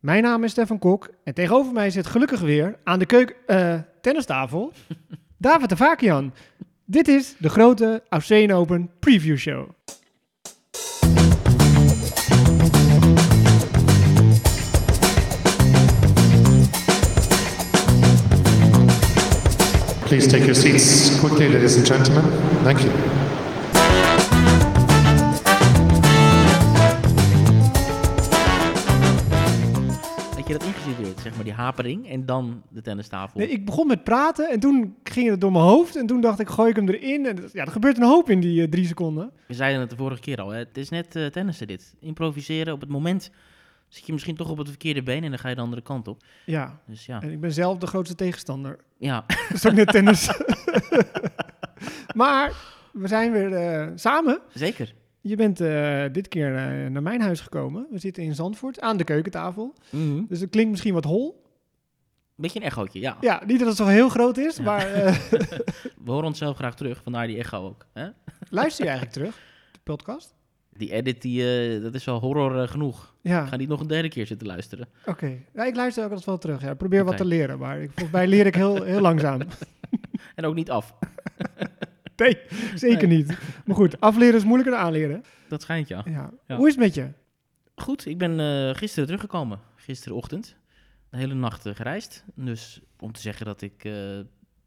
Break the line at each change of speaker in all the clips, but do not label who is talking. Mijn naam is Stefan Kok en tegenover mij zit gelukkig weer aan de keuk eh, tennistafel David de Vakian. Dit is de grote Australian Open preview show.
Please take your seats quickly, ladies and gentlemen. Thank you.
Dat je dat ingestudeerd, zeg maar, die hapering en dan de tennistafel.
Nee, ik begon met praten en toen ging het door mijn hoofd en toen dacht ik gooi ik hem erin. En, dat- ja, er gebeurt een hoop in die eh, drie seconden.
We zeiden het de vorige keer al, hè. het is net eh, tennissen dit. Improviseren op het moment zit je misschien toch op het verkeerde been en dan ga je de andere kant op.
Ja,
Dus ja,
en ik ben zelf de grootste tegenstander.
ja.
Dat is ook net tennis. maar we zijn weer eh, samen.
zeker.
Je bent eh, dit keer eh, naar mijn huis gekomen. We zitten in Zandvoort aan de keukentafel.
Mhm.
Dus het klinkt misschien wat hol.
Beetje een echootje, ja.
Ja, niet dat het zo heel groot is,
Ja.
maar eh,
We horen onszelf graag terug, vandaar die echo ook. Hè?
luister je eigenlijk terug, de podcast?
Die edit, die, eh, dat is wel horror eh, genoeg.
Ja,
Ik ga niet nog een derde keer zitten luisteren.
oké. Ja, ik luister ook altijd wel terug. Ja, ik probeer wat
Oké.
te leren, maar ik, volgens mij leer ik heel, heel langzaam.
En ook niet af.
Nee, zeker niet. Maar goed, afleren is moeilijker dan aanleren.
Dat schijnt, ja.
Ja.
Ja.
Hoe is het met je?
Goed, ik ben eh, gisteren teruggekomen. Gisterenochtend. De hele nacht eh, gereisd. Dus om te zeggen dat ik eh,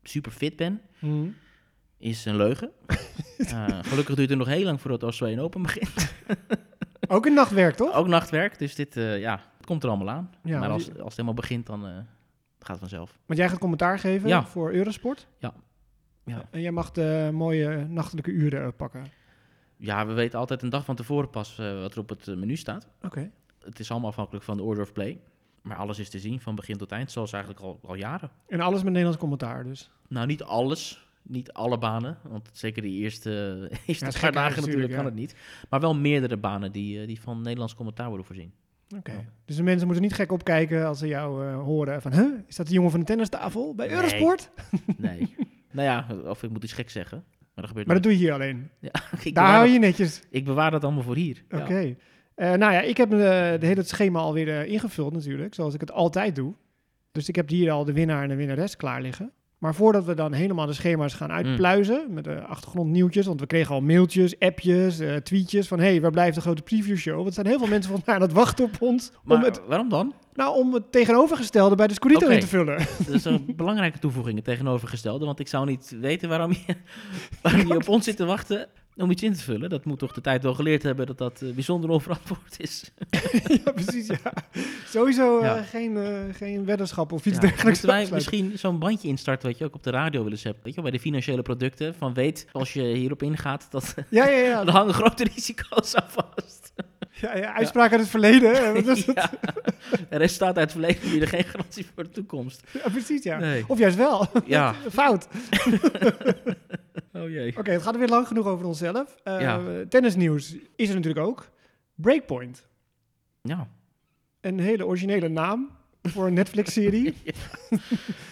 super fit ben, Hmm. is een leugen. Eh, gelukkig duurt het nog heel lang voordat Australian Open begint.
Ook een nachtwerk, toch?
Ook nachtwerk, dus dit, eh, ja, het komt er allemaal aan.
Oh. Ja,
maar
want
als,
je-
als het helemaal begint, dan eh, gaat het vanzelf.
Want jij gaat commentaar geven
Ja.
voor Eurosport.
Ja. Ja.
En jij mag de mooie nachtelijke uren eh, pakken.
Ja, we weten altijd een dag van tevoren pas eh, wat er op het eh, menu staat.
Oké.
Het is allemaal afhankelijk van de order of play. Maar alles is te zien, van begin tot eind, zoals eigenlijk al, al jaren.
En alles met Nederlands commentaar dus.
Nou, niet alles. Niet alle banen. Want zeker die eerste,
het is
eerste paar
gek
dagen
eigenlijk
natuurlijk
natuurlijk,
kan
ja.
het niet. Maar wel meerdere banen die, eh, die van Nederlands commentaar worden voorzien.
Oké.
Ja.
Dus de mensen moeten niet gek opkijken als ze jou eh, horen van... Huh, is dat de jongen van de tennistafel bij
Nee.
Eurosport?
Nee. nou ja, of ik moet iets gek zeggen. Maar dat gebeurt
Maar dat
nooit.
doe je hier alleen.
Ja, ik,
Daar
bewaar
hou
dat,
je netjes.
ik bewaar dat allemaal voor hier.
Oké.
Ja.
Eh, nou ja, ik heb eh, de hele het schema alweer eh, ingevuld natuurlijk, zoals ik het altijd doe. Dus ik heb hier al de winnaar en de winnares klaar liggen. Maar voordat we dan helemaal de schema's gaan
Hmm.
uitpluizen met de achtergrondnieuwtjes, want we kregen al mailtjes, appjes, eh, tweetjes van hey, waar blijft de grote previewshow? Want er zijn heel veel mensen van nou, dat wachten op ons
Maar
om, het,
waarom dan?
nou, om het tegenovergestelde bij de Scorito
Oké.
in te vullen.
Dat is een belangrijke toevoeging, het tegenovergestelde. Want ik zou niet weten waarom je, waarom je op ons zit te wachten om iets in te vullen. Dat moet toch de tijd wel geleerd hebben dat dat eh, bijzonder onverantwoord is.
ja, precies, ja. Sowieso eh,
Ja.
geen, eh, geen weddenschap of iets
Ja,
dergelijks.
Moeten wij
afsluiten.
misschien zo'n bandje instarten wat je ook op de radio willen hebben? Weet je, wel, bij de financiële producten. Van weet, als je hierop ingaat, dat
Ja, ja,
er
ja.
hangen grote risico's aan vast.
ja, ja uitspraak uit het verleden. hè. Dat is het.
Ja. De rest staat uit het verleden, jullie geen garantie voor de toekomst.
Ja, precies, ja.
Nee.
Of juist wel.
Ja.
Fout. Oké,
Oh jee.
het gaat weer lang genoeg over onszelf. Eh,
Ja.
Tennisnieuws is er natuurlijk ook. Breakpoint.
Ja,
Een hele originele naam voor een Netflix-serie.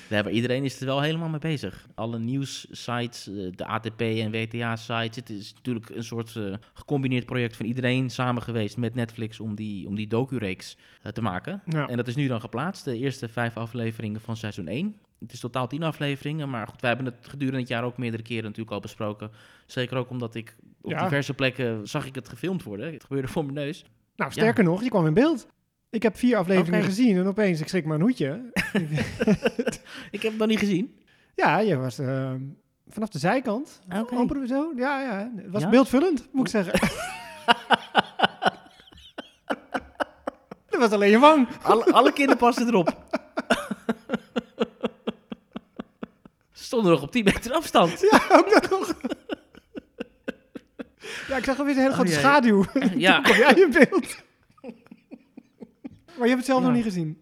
nee, maar iedereen is er wel helemaal mee bezig. Alle nieuwssites, eh, de ATP en WTA-sites. Het is natuurlijk een soort eh, gecombineerd project van iedereen samen geweest met Netflix om die, om die docu-reeks eh, te maken.
ja.
En dat is nu dan geplaatst, de eerste vijf afleveringen van seizoen 1. Het is totaal tien afleveringen, maar goed, wij hebben het gedurende het jaar ook meerdere keren natuurlijk al besproken. Zeker ook omdat ik op
Ja.
diverse plekken zag ik het gefilmd worden. Het gebeurde voor mijn neus.
Nou, sterker nog, je kwam in beeld. Ik heb vier afleveringen
Oké.
gezien en opeens, ik schrik mijn hoedje.
Ik heb het nog niet gezien.
Ja, je was eh, vanaf de zijkant.
Oké.
Amper zo. Ja, ja. Het was
Ja?
beeldvullend, moet ik zeggen. Dat was alleen je wang.
Alle, alle kinderen passen erop. Ze stonden nog op 10 meter afstand.
Ja, ook dat nog. Ja, ik zag alweer een hele
Oh,
grote
jee.
schaduw.
Ja,
Kom jij in beeld? Maar je hebt het zelf
Ja.
nog niet gezien.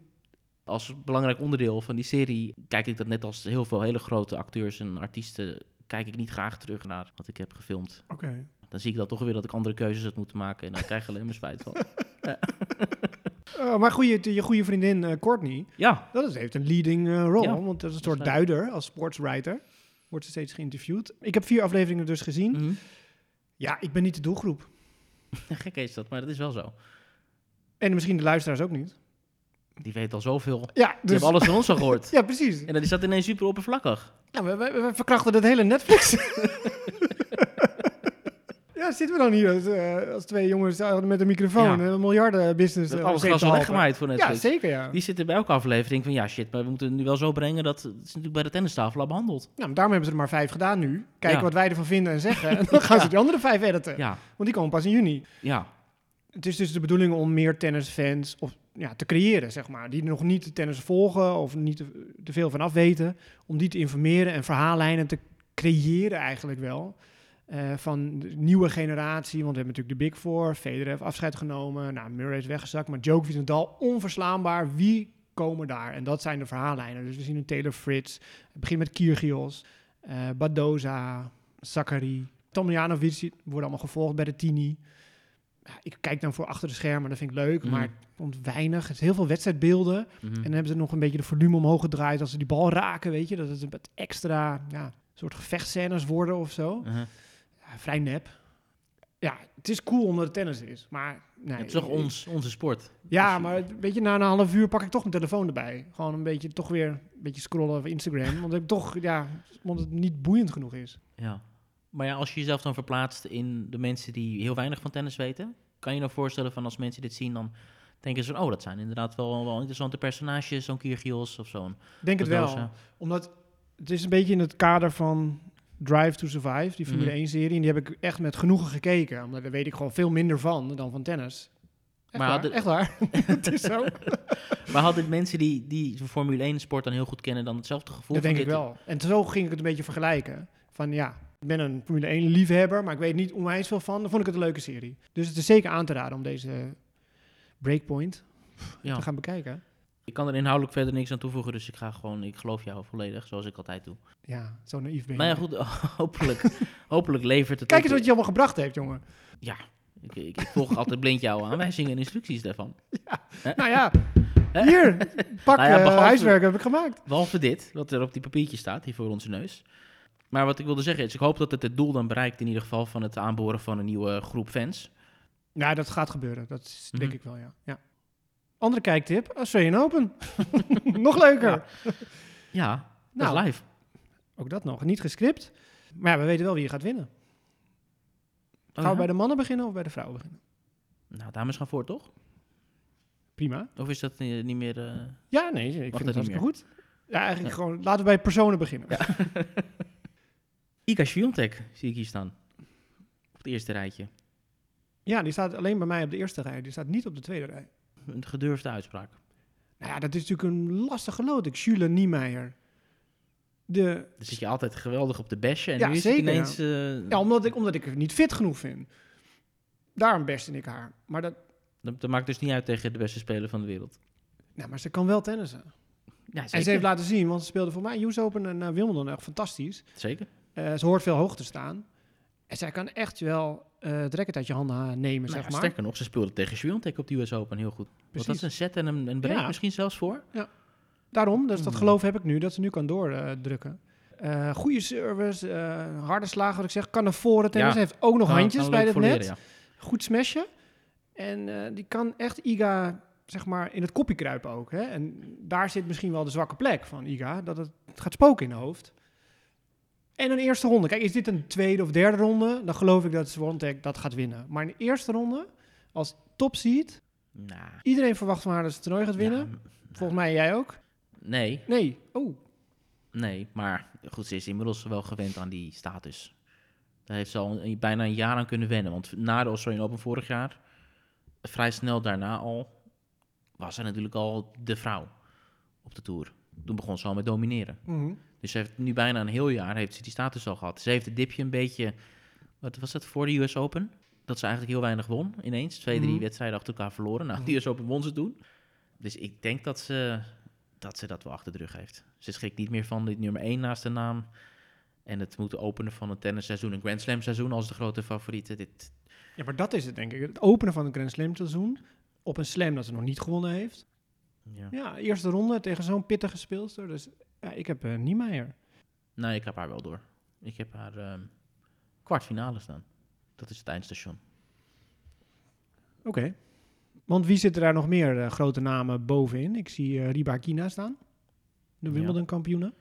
als belangrijk onderdeel van die serie kijk ik dat net als heel veel hele grote acteurs en artiesten. Kijk ik niet graag terug naar wat ik heb gefilmd.
Oké.
Dan zie ik dan toch weer dat ik andere keuzes had moeten maken. En dan krijg je alleen maar spijt van.
Eh, maar goeie, je goede vriendin eh, Courtney,
Ja,
dat is, heeft een leading eh, rol.
Ja.
Want dat is een
Dat
soort
is
duider als sportswriter. Wordt ze steeds geïnterviewd. Ik heb vier afleveringen dus gezien.
Mhm.
Ja, ik ben niet de doelgroep.
gek is dat, maar dat is wel zo.
En misschien de luisteraars ook niet.
Die weet al zoveel. Die
Ja, dus,
hebben alles van ons al gehoord.
ja precies.
En dat is dat ineens super oppervlakkig.
Ja, Nou, we, we- we verkrachten het hele Netflix. ja, zitten we dan hier als, eh, als twee jongens eh, met een microfoon
Ja.
en een miljardenbusiness.
Dat
eh,
alles
om zeep
gas
te
al
helpen.
weggemaaid voor
Ja,
Netflix.
zeker ja.
Die zitten bij elke aflevering van ja shit, maar we moeten het nu wel zo brengen dat het is natuurlijk bij de tennistafel al behandeld.
Nou, maar daarom hebben ze er maar vijf gedaan nu. Kijken
Ja.
wat wij ervan vinden en zeggen. En dan gaan ze die andere vijf editen.
Ja,
Want die komen pas in juni.
ja,
Het is dus de bedoeling om meer tennisfans of, ja, te creëren, zeg maar. Die nog niet de tennis volgen of niet te, te veel van af weten. Om die te informeren en verhaallijnen te creëren eigenlijk wel. eh, van de nieuwe generatie. Want we hebben natuurlijk de Big Four. Federer heeft afscheid genomen. Nou, Murray is weggezakt. Maar Djokovic en Nadal onverslaanbaar. Wie komen daar? En dat zijn de verhaallijnen. Dus we zien een Taylor Fritz. Het begint met Kyrgios. eh Badoza. Zachary. Tomjanovic. Die worden allemaal gevolgd bij de Tini ja, ik kijk dan voor achter de schermen, dat vind ik leuk,
Mhm.
maar het komt weinig. Het is heel veel wedstrijdbeelden. En
mhm.
dan hebben ze nog een beetje de volume omhoog gedraaid als ze die bal raken, weet je. Dat het een wat extra, ja, soort gevechtscènes worden of zo.
Uh-huh.
Ja, vrij nep. Ja, het is cool omdat het tennis is, maar... Nee,
het is toch
ik-
ons, onze sport.
Ja,
Dus-
maar het- weet je, na een half uur pak ik toch mijn telefoon erbij. Gewoon een beetje, toch weer een beetje scrollen op Instagram. want ik toch, ja, omdat het niet boeiend genoeg is.
Ja. Maar ja, als je jezelf dan verplaatst in de mensen die heel weinig van tennis weten, kan je nou voorstellen van als mensen dit zien, dan denken ze van, oh, dat zijn inderdaad wel, wel interessante personages, zo'n Kyrgios of zo'n...
Ik Denk het wel.
Badoza.
Omdat het is een beetje in het kader van Drive to Survive, die Formule
Mhm.
1 serie. En die heb ik echt met genoegen gekeken. Omdat daar weet ik gewoon veel minder van dan van tennis. Echt
Maar
maar waar,
de-
echt waar. het is zo.
Maar hadden mensen die, die zo'n Formule 1 sport dan heel goed kennen dan hetzelfde gevoel?
Dat
van
denk ik
dit-
wel. En zo ging ik het een beetje vergelijken. Van ja, ik ben een Formule 1 liefhebber, maar ik weet niet onwijs veel van. Dan vond ik het een leuke serie. Dus het is zeker aan te raden om deze Breakpoint
Ja.
te gaan bekijken.
Ik kan er inhoudelijk verder niks aan toevoegen, dus ik ga gewoon, ik geloof jou volledig, zoals ik altijd doe.
Ja, zo naïef ben je.
Nou ja, goed, hopelijk, hopelijk levert het...
Kijk
ook-
eens wat je allemaal gebracht hebt, jongen.
Ik, ik, ik volg altijd blind jouw aanwijzingen en instructies daarvan.
Nou ja, hier, pak
Nou ja,
eh,
behalve-
huiswerk heb ik gemaakt.
Behalve dit, wat er op die papiertje staat, hier voor onze neus. Maar wat ik wilde zeggen is, ik hoop dat het het doel dan bereikt in ieder geval van het aanboren van een nieuwe groep fans.
Nou, dat gaat gebeuren. Dat is- denk
Mhm.
ik wel, ja. ja. Andere kijktip, Australian Open. nog leuker.
Ja. Ja, dat
Nou.
is live. Oh
Ook dat nog. Niet gescript. Maar ja, we weten wel wie je gaat winnen. Gaan
Oh,
we bij
ja?
de mannen beginnen of bij de vrouwen beginnen?
Nou, dames gaan voor, toch?
Prima.
Of is dat eh, niet meer... eh,
Ja, nee, ik vind
dat
het
niet
hartstikke goed. Ja, eigenlijk gewoon, laten we bij personen beginnen.
Ika Sviontek zie ik hier staan. Op het eerste rijtje.
Ja, die staat alleen bij mij op de eerste rij. Die staat niet op de tweede rij.
Een gedurfde uitspraak.
Nou ja, dat is natuurlijk een lastige loting. Jule Niemeyer. De,
Dan zit je altijd geweldig op de besje en
Ja,
nu is
zeker,
het ineens... eh,
ja, omdat ik, omdat ik het niet fit genoeg vind. Daarom beste ik haar. Maar, dat,
dat, dat maakt dus niet uit tegen de beste speler van de wereld.
nou, maar ze kan wel tennissen.
Ja,
En ze
zeker.
heeft laten zien, want ze speelde voor mij US Open en eh, Wimbledon echt fantastisch.
zeker.
Eh, ze hoort veel hoog te staan. En zij kan echt wel eh het racket uit je handen eh, nemen,
Nou
zeg
ja,
maar.
Sterker nog, ze speelde tegen Sviontek op de US Open heel goed. Want dat
Precies.
is een set en een, een break
Ja.
misschien zelfs voor.
Daarom, dus dat
Hmm.
geloof heb ik nu, dat ze nu kan doordrukken. Eh goede service, eh, harde slagen, wat ik zeg. Kan naar voren tennis.
Ja.
Heeft ook nog
Kan-
handjes
kan
bij
Nou, leuk
het net.
volleren, ja.
Goed smashje. En eh, die kan echt Iga, zeg maar, in het kopje kruipen ook. Hè? En daar zit misschien wel de zwakke plek van Iga. Dat het, het gaat spoken in de hoofd. En een eerste ronde. Kijk, is dit een tweede of derde ronde? Dan geloof ik dat Swantek dat gaat winnen. Maar in de eerste ronde, als top seed,
Nou,
iedereen verwacht van haar dat ze het toernooi gaat winnen.
ja,
Volgens mij jij ook.
nee,
Nee. Oh,
nee. Maar goed, ze is inmiddels wel gewend aan die status. Daar heeft ze al een- bijna een jaar aan kunnen wennen. Want na de Australian Open vorig jaar, vrij snel daarna al, was ze natuurlijk al de vrouw op de Tour. Toen begon ze al met domineren. Dus ze heeft nu bijna een heel jaar heeft ze die status al gehad. Ze heeft het dipje een beetje. Wat was dat voor de US Open? Dat ze eigenlijk heel weinig won ineens. Twee, drie
Mhm.
wedstrijden achter elkaar verloren. Nou, de US Open won ze toen. Dus ik denk dat ze dat, ze dat wel achter de rug heeft. Ze schrikt niet meer van dit nummer één naast de naam. En het moeten openen van een tennisseizoen, een Grand Slam seizoen als de grote favoriete. Dit,
ja, maar dat is het denk ik. Het openen van een Grand Slam seizoen op een slam dat ze nog niet gewonnen heeft.
ja.
Ja, eerste ronde tegen zo'n pittige speelster. Dus ja, ik heb eh Niemeyer.
Nou, ik heb haar wel door. Ik heb haar ehm, kwartfinale staan. Dat is het eindstation.
Oké. Want wie zitten daar nog meer eh, grote namen bovenin? Ik zie eh, Rybakina staan, de
Ja.
Wimbledon-kampioene.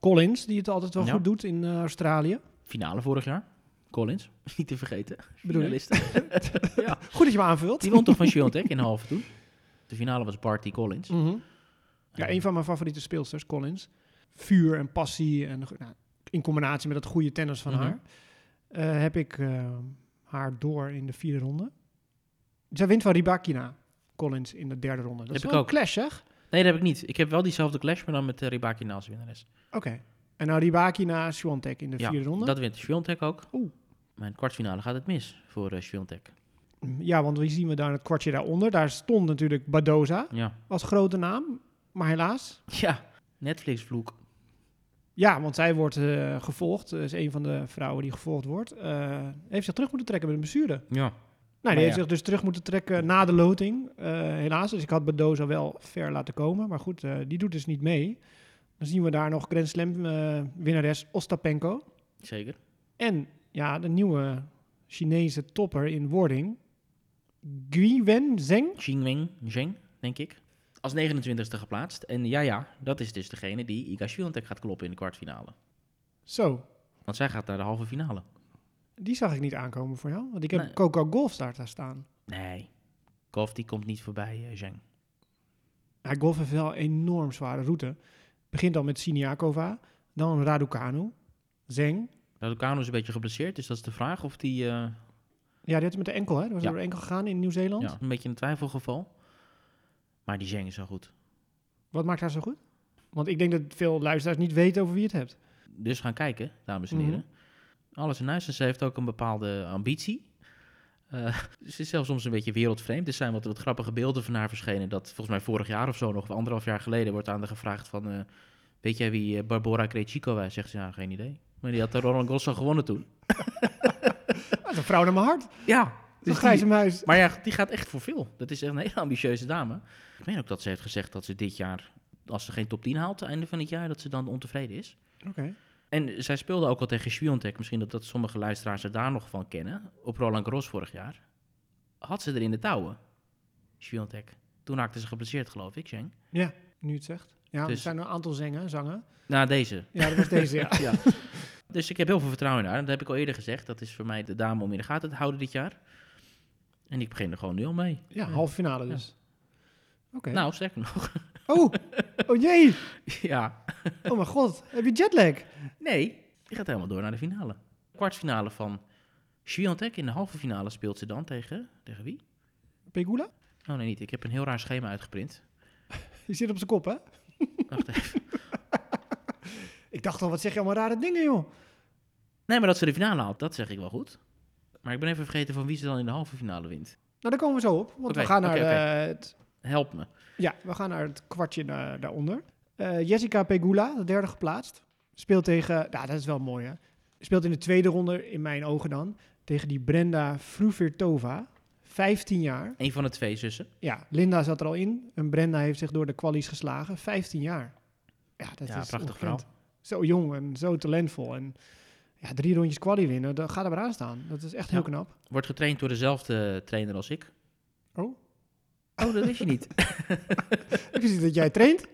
Collins, die het altijd wel
Ja.
goed doet in eh, Australië.
Finale vorig jaar. Collins, niet te vergeten.
Bedoel je?
Finalist. ja.
Goed dat je me aanvult.
Die won toch van Swiatek in de halve toen? De finale was Barty Collins.
Mhm. Ja, een van mijn favoriete speelsters, Collins. Vuur en passie, en, nou, in combinatie met dat goede tennis van
Mhm.
haar, eh, heb ik eh, haar door in de vierde ronde. Zij wint van Rybakina, Collins, in de derde ronde. Dat
Heb
is
ik
wel een
ook.
clash, zeg?
Nee, dat heb ik niet. Ik heb wel diezelfde clash, maar dan met uh, Ribakina als winnares.
Oké. En nou Rybakina, Swiatek in de
Ja,
vierde ronde.
dat wint Swiatek ook.
Oeh.
Maar in de kwartfinale gaat het mis voor eh Swiatek.
Ja, want wie zien we daar in het kwartje daaronder? Daar stond natuurlijk Badoza
Ja.
als grote naam. Maar helaas.
Ja, Netflix-vloek.
Ja, want zij wordt eh, gevolgd. Ze is een van de vrouwen die gevolgd wordt. Eh, heeft zich terug moeten trekken met een blessure. Nou,
Ja.
die
ja.
heeft zich dus terug moeten trekken na de loting. eh, helaas. Dus ik had Badoza wel ver laten komen. Maar goed, eh, die doet dus niet mee. Dan zien we daar nog Grand Slam eh, winnares Ostapenko.
Zeker.
En ja, de nieuwe Chinese topper in wording. Guiwen Zeng.
Xingwing Zheng, denk ik. Als 29 e geplaatst. En ja, ja, dat is dus degene die Iga Swiatek gaat kloppen in de kwartfinale.
Zo,
Want zij gaat naar de halve finale.
Die zag ik niet aankomen voor jou. Want ik heb
Nee.
Coco Golfstart daar staan.
Nee, Golf die komt niet voorbij, eh, Zheng.
Hij golf heeft wel een enorm zware route. Begint al met Siniakova, dan Raducanu, Zeng.
Raducanu is een beetje geblesseerd, dus dat is de vraag of die... eh,
Ja, dit is met de enkel, hè? Dat was
Ja.
door de enkel gegaan in Nieuw-Zeeland.
ja, een beetje een twijfelgeval. Maar die Zheng is zo goed.
Wat maakt haar zo goed? Want ik denk dat veel luisteraars niet weten over wie je het hebt.
Dus gaan kijken, dames en heren. Alles in huis. En ze heeft ook een bepaalde ambitie. Eh, ze is zelfs soms een beetje wereldvreemd. Er zijn wat, wat grappige beelden van haar verschenen. Dat volgens mij vorig jaar of zo nog, of anderhalf jaar geleden, wordt aan haar gevraagd van... eh, weet jij wie eh, Barbora Krejcikova is? Zegt ze, ja, geen idee. Maar die had de Roland Garros al gewonnen toen.
Ah, Dat is een vrouw naar mijn hart.
Ja.
Dus
Dus
grijze
die,
muis.
maar ja, die gaat echt voor veel. Dat is echt een hele ambitieuze dame. Ik meen ook dat ze heeft gezegd dat ze dit jaar, als ze geen top 10 haalt, einde van het jaar, dat ze dan ontevreden is.
Oké.
En zij speelde ook al tegen Swiatek. Misschien dat, dat sommige luisteraars er daar nog van kennen. Op Roland Garros vorig jaar. Had ze er in de touwen. Swiatek. Toen raakte ze geblesseerd, geloof ik, Zheng.
Ja, nu het zegt. Ja, er
Dus-
zijn een aantal zengen, zangen.
Na deze.
Ja, dat was deze, ja.
Ja. dus ik heb heel veel vertrouwen in haar. Dat heb ik al eerder gezegd. Dat is voor mij de dame om in de gaten te houden dit jaar. En ik begin er gewoon nu al mee.
Ja, halve finale dus. Oké.
Nou, sterker nog.
Oh, oh jee.
ja.
Oh mijn god. Heb je jetlag?
Nee, die gaat helemaal door naar de finale. Kwartfinale van Swiatek. In de halve finale speelt ze dan tegen... Tegen wie?
Pegula?
Oh nee, niet. Ik heb een heel raar schema uitgeprint.
Je zit op zijn kop, hè?
Wacht even.
Ik dacht al, wat zeg je allemaal rare dingen, joh.
Nee, maar dat ze de finale haalt, dat zeg ik wel goed. Maar ik ben even vergeten van wie ze dan in de halve finale wint.
Nou, daar komen we zo op. Want
Oké,
we, gaan naar,
oké, oké.
eh, het,
Help me.
ja, we gaan naar het kwartje eh, daaronder. Eh, Jessica Pegula, de derde geplaatst. Speelt tegen, nou, dat is wel mooi hè. Speelt in de tweede ronde, in mijn ogen dan, tegen die Brenda Fruvirtova. 15 jaar.
Een van de twee zussen.
Ja, Linda zat er al in. En Brenda heeft zich door de kwalies geslagen. 15 jaar. Ja, dat
ja,
is
prachtig
ongekend.
verhaal.
Zo jong en zo talentvol. En ja, drie rondjes kwalie winnen, dat gaat er maar aan staan. Dat is echt heel
Ja.
knap.
Wordt getraind door dezelfde trainer als ik.
Oh,
Oh, dat wist je niet.
ik zie dat jij traint.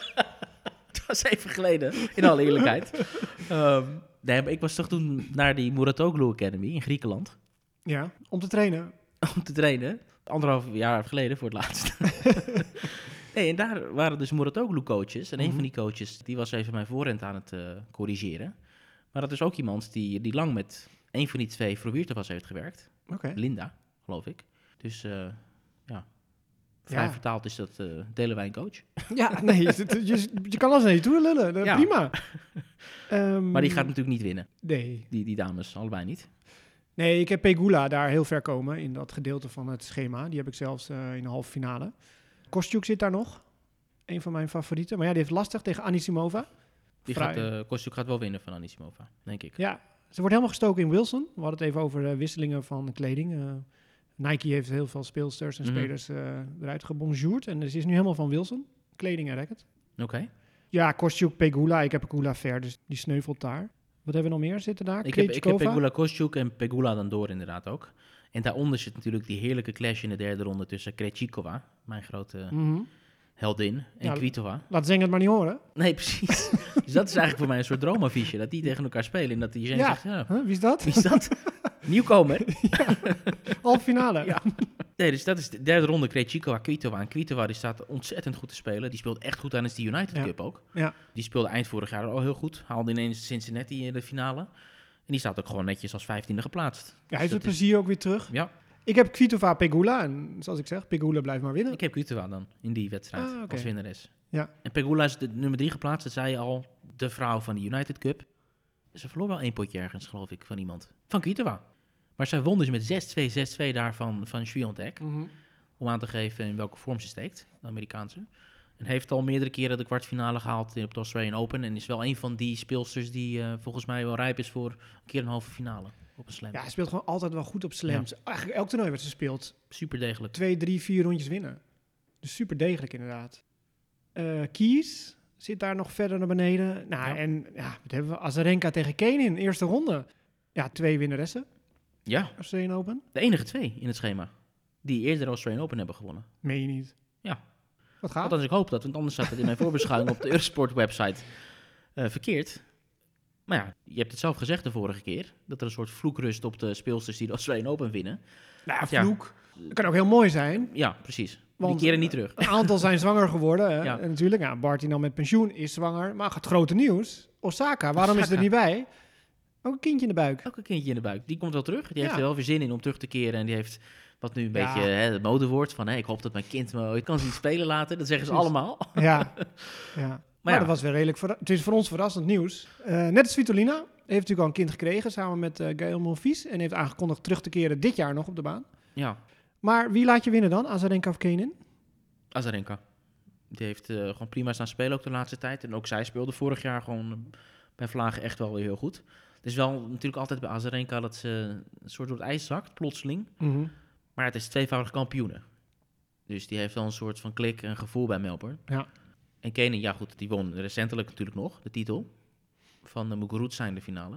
dat was even geleden, in alle eerlijkheid. Ehm, nee, maar ik was toch toen naar die Muratoglu Academy in Griekenland
Ja, om te trainen.
om te trainen. Anderhalf jaar geleden voor het laatst. nee, en daar waren dus Muratoglu coaches. En een
Mhm.
van die coaches, die was even mijn voorhand aan het eh, corrigeren. Maar dat is ook iemand die, die lang met een van die twee was heeft gewerkt.
Oké.
Linda, geloof ik. Dus eh, ja, vrij
Ja.
vertaald is dat eh delen wij een coach.
Ja, nee, je, zit- je, je kan alles naar je toe lullen. Dat-
Ja.
Prima. Ehm,
Maar die gaat natuurlijk niet winnen,
Nee.
die, die dames, allebei niet.
nee, ik heb Pegula daar heel ver komen in dat gedeelte van het schema. Die heb ik zelfs eh, in de halve finale. Kostjuk zit daar nog. Een van mijn favorieten. Maar ja, die heeft lastig tegen Anisimova.
Die
Vrij.
gaat, eh Kostjuk gaat wel winnen van Anisimova, denk ik.
Ja, ze wordt helemaal gestoken in Wilson. We hadden het even over eh, wisselingen van kleding. Eh, Nike heeft heel veel speelsters en
Mhm.
spelers eh, eruit gebonjourd. En dus is nu helemaal van Wilson. Kleding en racket.
Oké.
Ja, Kostjuk, Pegula. Ik heb Pegula ver, dus die sneuvelt daar. Wat hebben we nog meer zitten daar?
Ik heb, ik heb
Krejcikova?
Pegula Kostjuk en Pegula dan door inderdaad ook. En daaronder zit natuurlijk die heerlijke clash in de derde ronde tussen Krejcikova, mijn grote
Mhm.
heldin, en
Ja,
Kvitova.
Laat Zeng het maar niet horen.
Nee, precies. dus dat is eigenlijk voor mij een soort droomaffiche, dat die tegen elkaar spelen en dat die
Ja.
zegt, ja,
Huh, wie is dat?
wie is dat? Nieuwkomer.
Half finale.
Ja. Nee, dus dat is de derde ronde kreeg Chico Kwitova. En Kwitova die staat ontzettend goed te spelen. Die speelt echt goed tijdens de United
Ja.
Cup ook.
Ja.
Die speelde eind vorig jaar al heel goed. Haalde ineens Cincinnati in de finale. En die staat ook gewoon netjes als vijftiende geplaatst.
Ja, hij
Dus
heeft het
dat is-
plezier ook weer terug.
Ja.
Ik heb Kvitova Pegula. En zoals ik zeg, Pegula blijft maar winnen.
Ik heb Kwitova dan in die wedstrijd
Hm. Ah, oké.
als winnares.
Ja.
En Pegula is de nummer drie geplaatst. Dat zei je al. De vrouw van de United Cup. Ze verloor wel één potje ergens, geloof ik, van iemand. Van Kwitova. Maar zij won dus met 6-2, 6-2 daarvan van Sviontek.
Mhm.
om aan te geven in welke vorm ze steekt, de Amerikaanse. En heeft al meerdere keren de kwartfinale gehaald in- op de Australian Open. En is wel een van die speelsters die eh, volgens mij wel rijp is voor een keer een halve finale op een slam.
Ja, hij speelt gewoon altijd wel goed op slams. Eigenlijk elk toernooi wat ze speelt,
Super degelijk.
twee, drie, vier rondjes winnen. Dus super degelijk inderdaad. Eh Kies zit daar nog verder naar beneden. Nou,
Ja.
en ja, wat hebben we? Azarenka tegen Kane in, eerste ronde. Ja, twee winnaressen,
Ja,
Australian Open.
de enige twee in het schema die eerder de Australian Open hebben gewonnen.
Meen je niet?
Ja.
Wat gaat?
Althans, ik hoop dat, want anders staat het in mijn voorbeschouwing op de Eurosport website eh, verkeerd. Maar ja, je hebt het zelf gezegd de vorige keer, dat er een soort vloek rust op de speelsters die de Australian Open winnen.
Nou,
Ja.
vloek. Dat kan ook heel mooi zijn.
Ja, precies.
Want- eh,
die keren niet terug.
Een aantal zijn zwanger geworden. hè.
Ja.
En natuurlijk, nou, Bart die dan met pensioen is zwanger. Maar het grote nieuws, Osaka, waarom is het er
Osaka.
niet bij? Ook een kindje in de buik.
Elke kindje in de buik. Die komt wel terug. Die heeft
Ja.
er wel weer zin in om terug te keren. En die heeft wat nu een
Ja.
beetje hè, het modewoord van... Hè, ik hoop dat mijn kind me ooit kan zien spelen later. Dat zeggen ze
Precies.
allemaal.
Ja. ja. Maar,
ja.
dat was weer redelijk... verra- Het is voor ons verrassend nieuws. Eh, net als Vitolina heeft natuurlijk al een kind gekregen samen met eh Gaël Monfils. En heeft aangekondigd terug te keren dit jaar nog op de baan.
Ja,
Maar wie laat je winnen dan? Azarenka of Kenin?
Azarenka. Die heeft eh, gewoon prima staan spelen ook de laatste tijd. En ook zij speelde vorig jaar gewoon eh, bij Vlagen echt wel weer heel goed. Het is wel natuurlijk altijd bij Azarenka dat ze een soort door het ijs zakt, plotseling. Maar het is tweevoudig kampioenen. Dus die heeft wel een soort van klik en gevoel bij Melbourne.
Ja.
En Kenen, ja goed, die won recentelijk natuurlijk nog de titel. Van de Muguruza in de finale.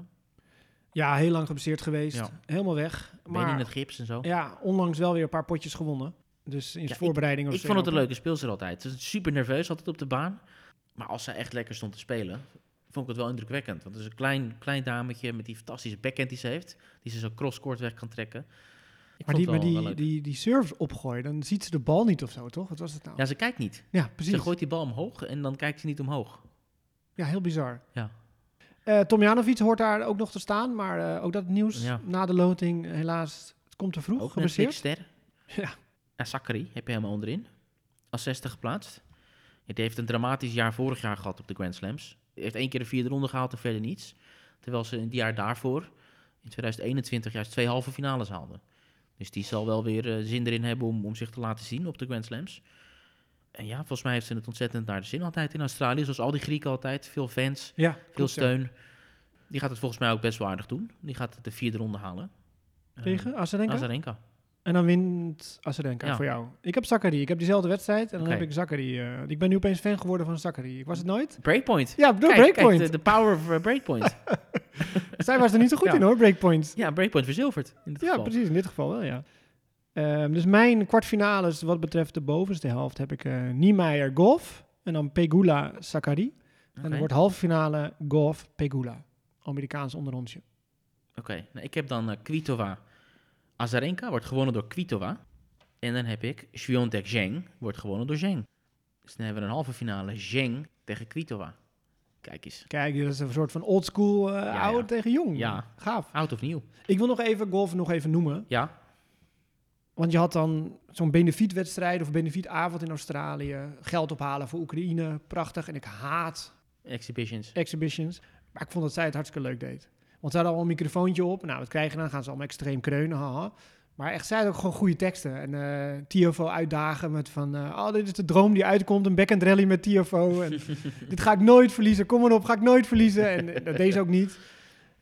Ja, heel lang geblesseerd geweest.
Ja.
Helemaal weg.
Benen in
Maar
het gips en zo.
ja, onlangs wel weer een paar potjes gewonnen. Dus in zijn
Ja, ik-
voorbereiding of
ik
zo.
vond het een leuke speelster altijd. Ze is super nerveus altijd op de baan. Maar als zij echt lekker stond te spelen, vond ik het wel indrukwekkend. Want het is een klein, klein dametje met die fantastische backhand die ze heeft. Die ze zo crosscourt weg kan trekken. Ik
Maar
vond
die, maar
het wel,
die,
wel
die,
leuk.
die, serves opgooien, dan ziet ze de bal niet of zo, toch? Wat was het nou?
Ja, ze kijkt niet.
Ja, precies.
Ze gooit die bal omhoog en dan kijkt ze niet omhoog.
Ja, heel bizar.
Ja.
Eh, Tomjanovic hoort daar ook nog te staan, maar eh, ook dat nieuws
Ja.
na de loting, eh, helaas, het komt te vroeg,
Ook een
geblesseerd.
ster.
Ja.
En Zachary heb je helemaal onderin. Als 60 geplaatst. Het heeft een dramatisch jaar vorig jaar gehad op de Grand Slams. Hij heeft één keer de vierde ronde gehaald en verder niets. Terwijl ze in het jaar daarvoor, in 2021, juist twee halve finales haalden. Dus die zal wel weer eh, zin erin hebben om, om zich te laten zien op de Grand Slams. En ja, volgens mij heeft ze het ontzettend naar de zin altijd in Australië. Zoals al die Grieken altijd. Veel fans,
Ja,
veel
klopt, ja.
steun. Die gaat het volgens mij ook best waardig doen. Die gaat de vierde ronde halen. Eh,
Tegen Azarenka?
Azarenka.
En dan wint Azarenka
Ja.
voor jou. Ik heb Zachary, ik heb diezelfde wedstrijd en dan
Oké.
heb ik Zachary. eh, ik ben nu opeens fan geworden van Zachary. Ik was het nooit.
Breakpoint.
Ja, door
Kijk,
Breakpoint. Ah.
kijk, de, de power of eh, Breakpoint.
Zij was er niet zo goed
Ja.
in hoor, Breakpoint.
ja, Breakpoint verzilverd in dit
Ja,
geval.
precies, in dit geval wel, ja. Ehm, dus mijn kwartfinales wat betreft de bovenste helft heb ik eh Niemeyer Golf en dan Pegula Zachary. En
Oké.
dan wordt halve finale Golf Pegula. Amerikaans onderrondje.
Oké, nou, ik heb dan eh, Kvitova. Azarenka wordt gewonnen door Kvitova. En dan heb ik Sviontek Zheng, wordt gewonnen door Zheng. Dus dan hebben we een halve finale Zheng tegen Kvitova. Kijk eens,
Kijk, dit is een soort van oldschool eh
ja.
oud tegen jong.
Ja.
Gaaf.
oud of nieuw?
Ik wil nog even golf nog even noemen.
Ja,
Want je had dan zo'n benefietwedstrijd of benefietavond in Australië. Geld ophalen voor Oekraïne. Prachtig. En ik haat
exhibitions.
exhibitions. Maar ik vond dat zij het hartstikke leuk deed. Want ze hadden al een microfoontje op. Nou, wat krijgen we dan? Gaan ze allemaal extreem kreunen. Haha. Maar echt, zij had ook gewoon goede teksten. En eh TFO uitdagen met van... eh, oh, dit is de droom die uitkomt. Een backhand rally met TFO. En dit ga ik nooit verliezen. Kom maar op, ga ik nooit verliezen. En eh, dat deed ze ook niet.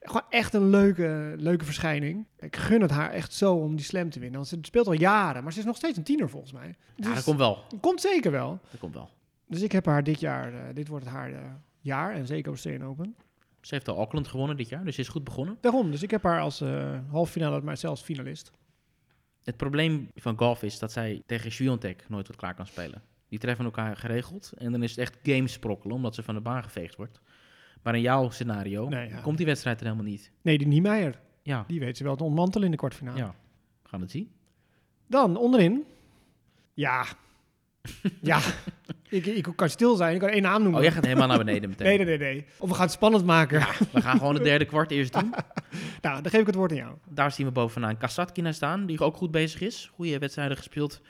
Gewoon echt een leuke, leuke verschijning. Ik gun het haar echt zo om die slam te winnen. Want ze speelt al jaren. Maar ze is nog steeds een tiener volgens mij. Dus
Ja, dat komt wel.
komt zeker wel.
Dat komt wel.
Dus ik heb haar dit jaar... eh, dit wordt haar eh, jaar. En zeker op Steen Open.
Ze heeft al Auckland gewonnen dit jaar, dus ze is goed begonnen.
Daarom, dus ik heb haar als eh halffinale, maar zelfs finalist.
Het probleem van golf is dat zij tegen Sviontek nooit tot klaar kan spelen. Die treffen elkaar geregeld en dan is het echt gamesprokkelen omdat ze van de baan geveegd wordt. Maar in jouw scenario
Nee, ja.
komt die wedstrijd er helemaal niet.
Nee, die Niemeyer.
Ja,
Die weet ze wel te ontmantelen in de kwartfinale.
ja. we gaan het zien.
Dan onderin. Ja. ja. Ik, ik kan stil zijn. Ik kan één naam noemen.
Oh, jij gaat helemaal naar beneden meteen.
nee, nee, nee, nee. Of we gaan het spannend maken.
We gaan gewoon het derde kwart eerst doen.
Nou, dan geef ik het woord aan jou.
Daar zien we bovenaan Kasatkina staan, die ook goed bezig is. Goede wedstrijden gespeeld.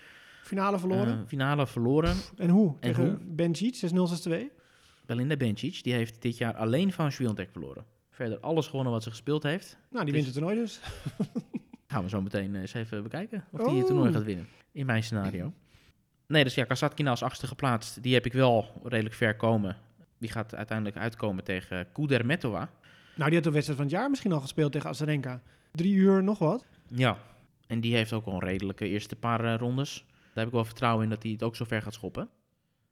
Finale verloren.
Eh, finale verloren.
en hoe? Tegen
hoe?
Benji, 6-0, 6-2.
Belinda Bencic, die heeft dit jaar alleen van Sviontek verloren. Verder alles gewonnen wat ze gespeeld heeft.
Nou, die
Dus-
wint het toernooi dus.
Gaan we zo meteen eh, eens even bekijken of die het
Oh.
toernooi gaat winnen. In mijn scenario. Nee, dus ja, Kasatkina als achtste geplaatst. Die heb ik wel redelijk ver komen. Die gaat uiteindelijk uitkomen tegen Kudermetova.
Nou, die had de wedstrijd van het jaar misschien al gespeeld tegen Azarenka. Drie uur nog wat.
Ja. En die heeft ook al een redelijke eerste paar eh, rondes. Daar heb ik wel vertrouwen in dat hij het ook zo ver gaat schoppen.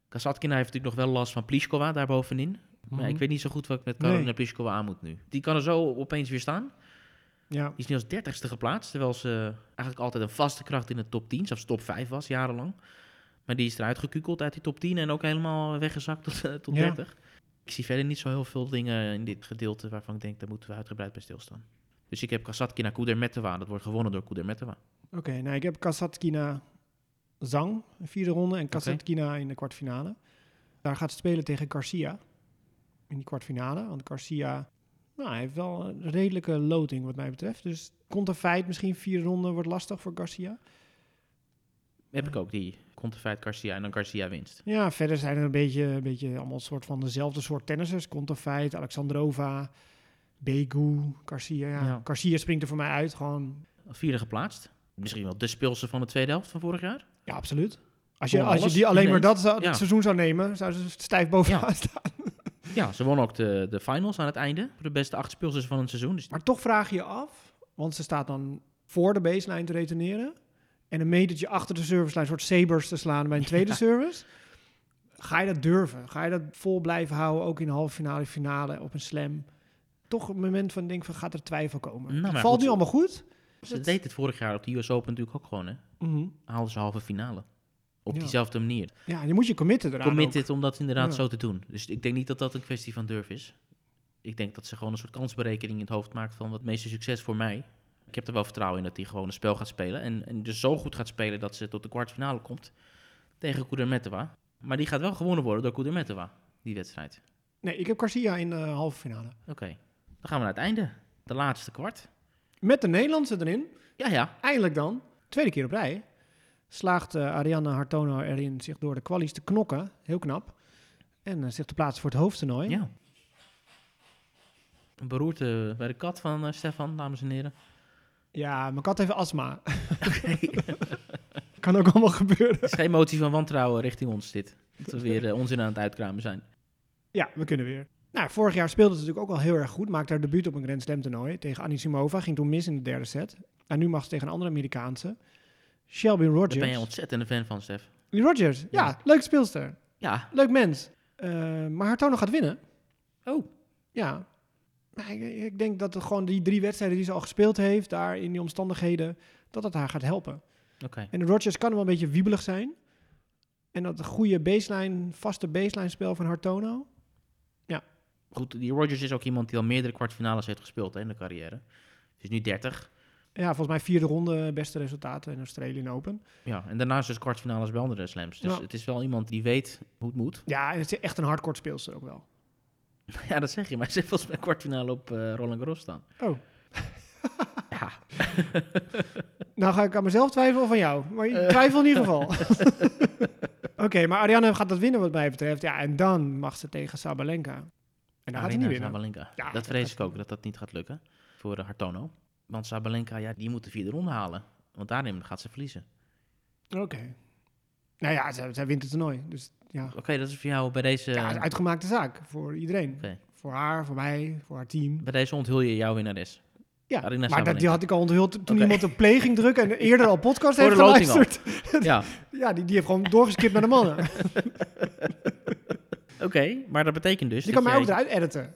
Kasatkina heeft natuurlijk nog wel last van Pliskova daar bovenin. Maar ik weet niet zo goed wat ik met Karolina
Mhm. Nee.
Pliskova aan moet nu. Die kan er zo opeens weer staan.
Ja.
Die is nu als dertigste geplaatst, terwijl ze eigenlijk altijd een vaste kracht in de top 10, zelfs top 5 was, jarenlang. Maar die is eruit gekukeld uit die top 10 en ook helemaal weggezakt tot, eh, tot
Ja.
30. Ik zie verder niet zo heel veel dingen in dit gedeelte waarvan ik denk, daar moeten we uitgebreid bij stilstaan. Dus ik heb Kasatkina Kudermetova, dat wordt gewonnen door Kudermetova.
Oké, nou, ik heb Kasatkina Zang, in vierde ronde. En Kasatkina in de kwartfinale. Daar gaat ze spelen tegen Garcia. In die kwartfinale. Want Garcia, nou, hij heeft wel een redelijke loting wat mij betreft. Dus komt een feit, misschien vierde ronde wordt lastig voor Garcia.
Heb ik ook die Contefeit Garcia en dan Garcia winst.
Ja, verder zijn er een beetje, een beetje allemaal soort van dezelfde soort tennissers. Contafeit, Alexandrova, Begu, Garcia. Ja.
Ja.
Garcia springt er voor mij uit. Gewoon,
Als vierde geplaatst. Misschien wel de speelse van de tweede helft van vorig jaar.
ja, absoluut. Als je,
Gewoon
als je
alles
die alleen maar
ineens.
dat zou-
Ja.
het seizoen zou nemen, zou ze stijf bovenaan staan.
Ja, ze won ook de, de finals aan het einde. De beste acht speelsters van het seizoen. Dus
Maar toch vraag je je af, want ze staat dan voor de baseline te reteneren. En een metertje achter de servicelijn, een soort sabers te slaan bij een tweede service. Ga je dat durven? Ga je dat vol blijven houden, ook in de halve finale, finale, op een slam? Toch een moment van denk van, gaat er twijfel komen?
Nou, maar
Valt
goed,
nu allemaal goed?
Ze deed het vorig jaar op de US Open natuurlijk ook gewoon, hè?
Mhm.
Haalden ze halve finale. Op
Ja.
diezelfde manier.
Ja, je moet je committen eraan ook.
Committed om dat inderdaad
Ja.
zo te doen. Dus ik denk niet dat dat een kwestie van durf is. Ik denk dat ze gewoon een soort kansberekening in het hoofd maakt van wat meeste succes voor mij. Ik heb er wel vertrouwen in dat hij gewoon een spel gaat spelen. En, en dus zo goed gaat spelen dat ze tot de kwartfinale komt tegen Kudermetova. Maar die gaat wel gewonnen worden door Kudermetova, die wedstrijd.
Nee, ik heb Garcia in de halve finale.
Oké, dan gaan we naar het einde. De laatste kwart.
Met de Nederlandse erin.
Ja, ja.
Eindelijk dan, tweede keer op rij, slaagt eh, Arianna Hartono erin zich door de kwalies te knokken. Heel knap. En eh, zich te plaatsen voor het hoofdtoernooi.
Ja. Een beroerte bij de kat van eh, Stefan, dames en heren.
Ja, mijn kat heeft astma. kan ook allemaal gebeuren.
Het is geen motie van wantrouwen richting ons dit. Dat we weer eh, onzin aan het uitkramen zijn.
Ja, we kunnen weer. Nou, vorig jaar speelde ze natuurlijk ook wel heel erg goed. Maakte haar debuut op een Grand Slam toernooi tegen Anisimova. Ging toen mis in de derde set. En nu mag ze tegen een andere Amerikaanse. Shelby
Daar ben je
Rogers.
ontzettend een fan van, Stef.
Die Rogers, ja,
Ja.
leuk speelster.
Ja.
Leuk mens. Eh, maar Hartono gaat winnen.
Oh.
Ja. Maar ik, ik denk dat het gewoon die drie wedstrijden die ze al gespeeld heeft, daar in die omstandigheden, dat het haar gaat helpen.
Oké.
En de Rodgers kan wel een beetje wiebelig zijn. En dat goede baseline, vaste baseline spel van nou. Hartono.
Goed, die Rogers is ook iemand die al meerdere kwartfinales heeft gespeeld hè, in de carrière. Ze is nu 30.
Ja, volgens mij vierde ronde beste resultaten in Australië Open.
Ja, en daarnaast dus kwartfinales bij andere slams. Dus
Ja.
het is wel iemand die weet hoe het moet.
Ja, en het is echt een hardcore speelster ook wel.
ja, dat zeg je, maar ze heeft volgens mij kwartfinale op eh, Roland Garros staan.
Oh.
Ja.
Nou ga ik aan mezelf twijfelen of aan jou. Maar ik twijfel in ieder geval. Oké, maar Ariane gaat dat winnen wat mij betreft. Ja, en dan mag ze tegen Sabalenka. En dan gaat hij
Arena
niet winnen.
Sabalenka.
Ja,
dat
dat
vrees
gaat
ik ook, dat dat niet gaat lukken voor eh, Hartono. Want Sabalenka, ja, die moet de vierde ronde halen. Want daarin gaat ze verliezen.
Oké. Nou ja, zij, zij wint het toernooi. Dus ja,
Oké, dat is voor jou bij deze,
ja het is een uitgemaakte zaak voor iedereen.
Oké.
Voor haar, voor mij, voor haar team.
bij deze onthul je jouw winnares.
Ja,
Arina
maar dat, die
Sabalenka.
had ik al onthuld toen
Oké.
iemand een pleging druk en eerder al podcast
Voor de
heeft
loting al.
geluisterd.
ja,
Ja, die, die heeft gewoon doorgeskipt naar de mannen.
oké. maar dat betekent dus...
Die
dat
kan mij ook
jij-
eruit editen.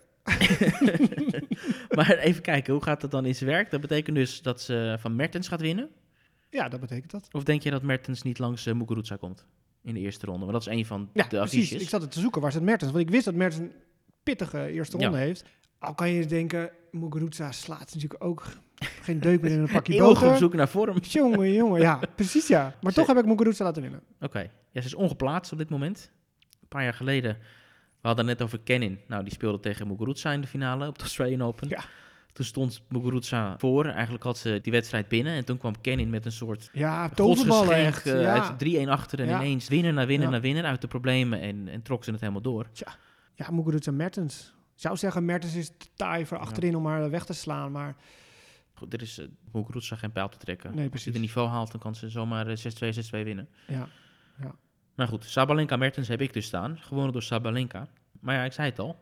Maar even kijken, hoe gaat dat dan in zijn werk? Dat betekent dus dat ze van Mertens gaat winnen.
Ja, dat betekent dat.
Of denk je dat Mertens niet langs uh, Muguruza komt in de eerste ronde? Maar dat is een van
Ja,
de
precies.
affiches.
Ik zat het te zoeken, waar zit Mertens? Want ik wist dat Mertens een pittige eerste
Ja.
ronde heeft. Al kan je eens denken, Muguruza slaat natuurlijk ook geen deuk meer in een pakje
Eeuwig op
boter.
zoek naar vorm. Oké.
Jongen, jongen, ja, precies ja. Maar
Ze-
toch heb ik Muguruza laten winnen.
Ja, ze is ongeplaatst op dit moment. Een paar jaar geleden, we hadden het net over Kenin. Nou, die speelde tegen Muguruza in de finale op de Australian Open.
Ja.
Toen stond Muguruza voor. Eigenlijk had ze die wedstrijd binnen. En toen kwam Kenin met een soort
Ja, toverballen
godsgeschenk
echt.
eh,
ja.
uit 3-1 achter. En
Ja.
ineens winnen na winnen
Ja.
na winnen uit de problemen. En, en trok ze het helemaal door.
ja, Muguruza Mertens. Ik zou zeggen, Mertens is te taai voor achterin om haar weg te slaan. Maar
Goed, er is uh, Muguruza geen pijl te trekken.
nee,
Als je
precies.
het niveau haalt, dan kan ze zomaar eh, 6-2, 6-2 winnen.
Ja.
Maar goed, Sabalenka Mertens heb ik dus staan. Gewonnen door Sabalenka. Maar ja, ik zei het al.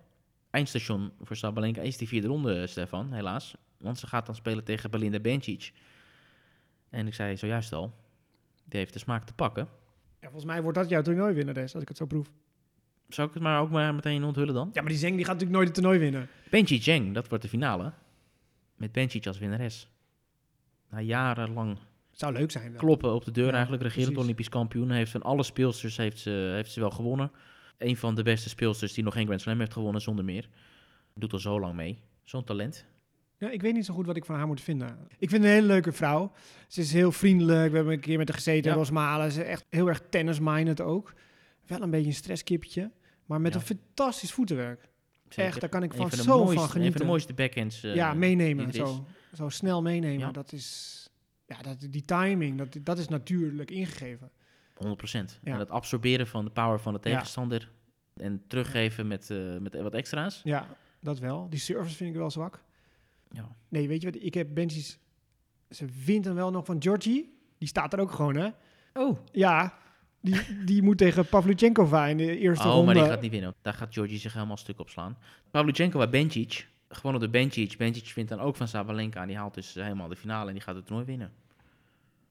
Eindstation voor Sabalenka is die vierde ronde, eh, Stefan, helaas. Want ze gaat dan spelen tegen Belinda Bencic. En ik zei zojuist al, die heeft de smaak te pakken.
ja, volgens mij wordt dat jouw toernooi winnen, Des, als ik het zo proef.
Zou ik het maar ook maar meteen onthullen dan?
Ja, maar die Zeng die gaat natuurlijk nooit het toernooi winnen.
Bencic Zheng, dat wordt de finale. Met Bencic als winnares. Na jarenlang
Zou leuk zijn. wel.
kloppen op de deur
Ja,
eigenlijk. Regerend
precies.
Olympisch kampioen. Heeft van alle speelsters heeft ze, heeft ze wel gewonnen. Een van de beste speelsters die nog geen Grand Slam heeft gewonnen, zonder meer. Doet al zo lang mee. Zo'n talent.
Ja, ik weet niet zo goed wat ik van haar moet vinden. Ik vind een hele leuke vrouw. Ze is heel vriendelijk. We hebben een keer met haar gezeten in
Ja.
Rosmalen. Ze is echt heel erg tennis-minded ook. Wel een beetje een stresskipje. Maar met
Ja.
een fantastisch voetenwerk.
Zeker.
Echt, daar kan ik
Een
van
de
zo
mooiste,
van
Een van de
genieten.
mooiste backhands. eh,
ja, meenemen.
die er is.
Zo, zo snel meenemen.
Ja.
Dat is... Ja, dat, die timing, dat, dat is natuurlijk ingegeven.
100%.
Ja.
En dat absorberen van de power van de
Ja.
tegenstander. En teruggeven met, eh, met wat extra's.
Ja, dat wel. Die service vind ik wel zwak.
Ja.
Nee, weet je wat? Ik heb Benji's... Ze wint hem wel nog van Georgie. Die staat er ook gewoon, hè?
Oh,
Ja, die, die moet tegen Pavlyuchenkova in de eerste
oh
ronde.
maar die gaat niet winnen. Daar gaat Georgie zich helemaal stuk op slaan. Pavlyuchenko bij Bencic. Gewonnen door Bencic. Bencic vindt dan ook van Sabalenka. En die haalt dus helemaal de finale en die gaat het toernooi winnen.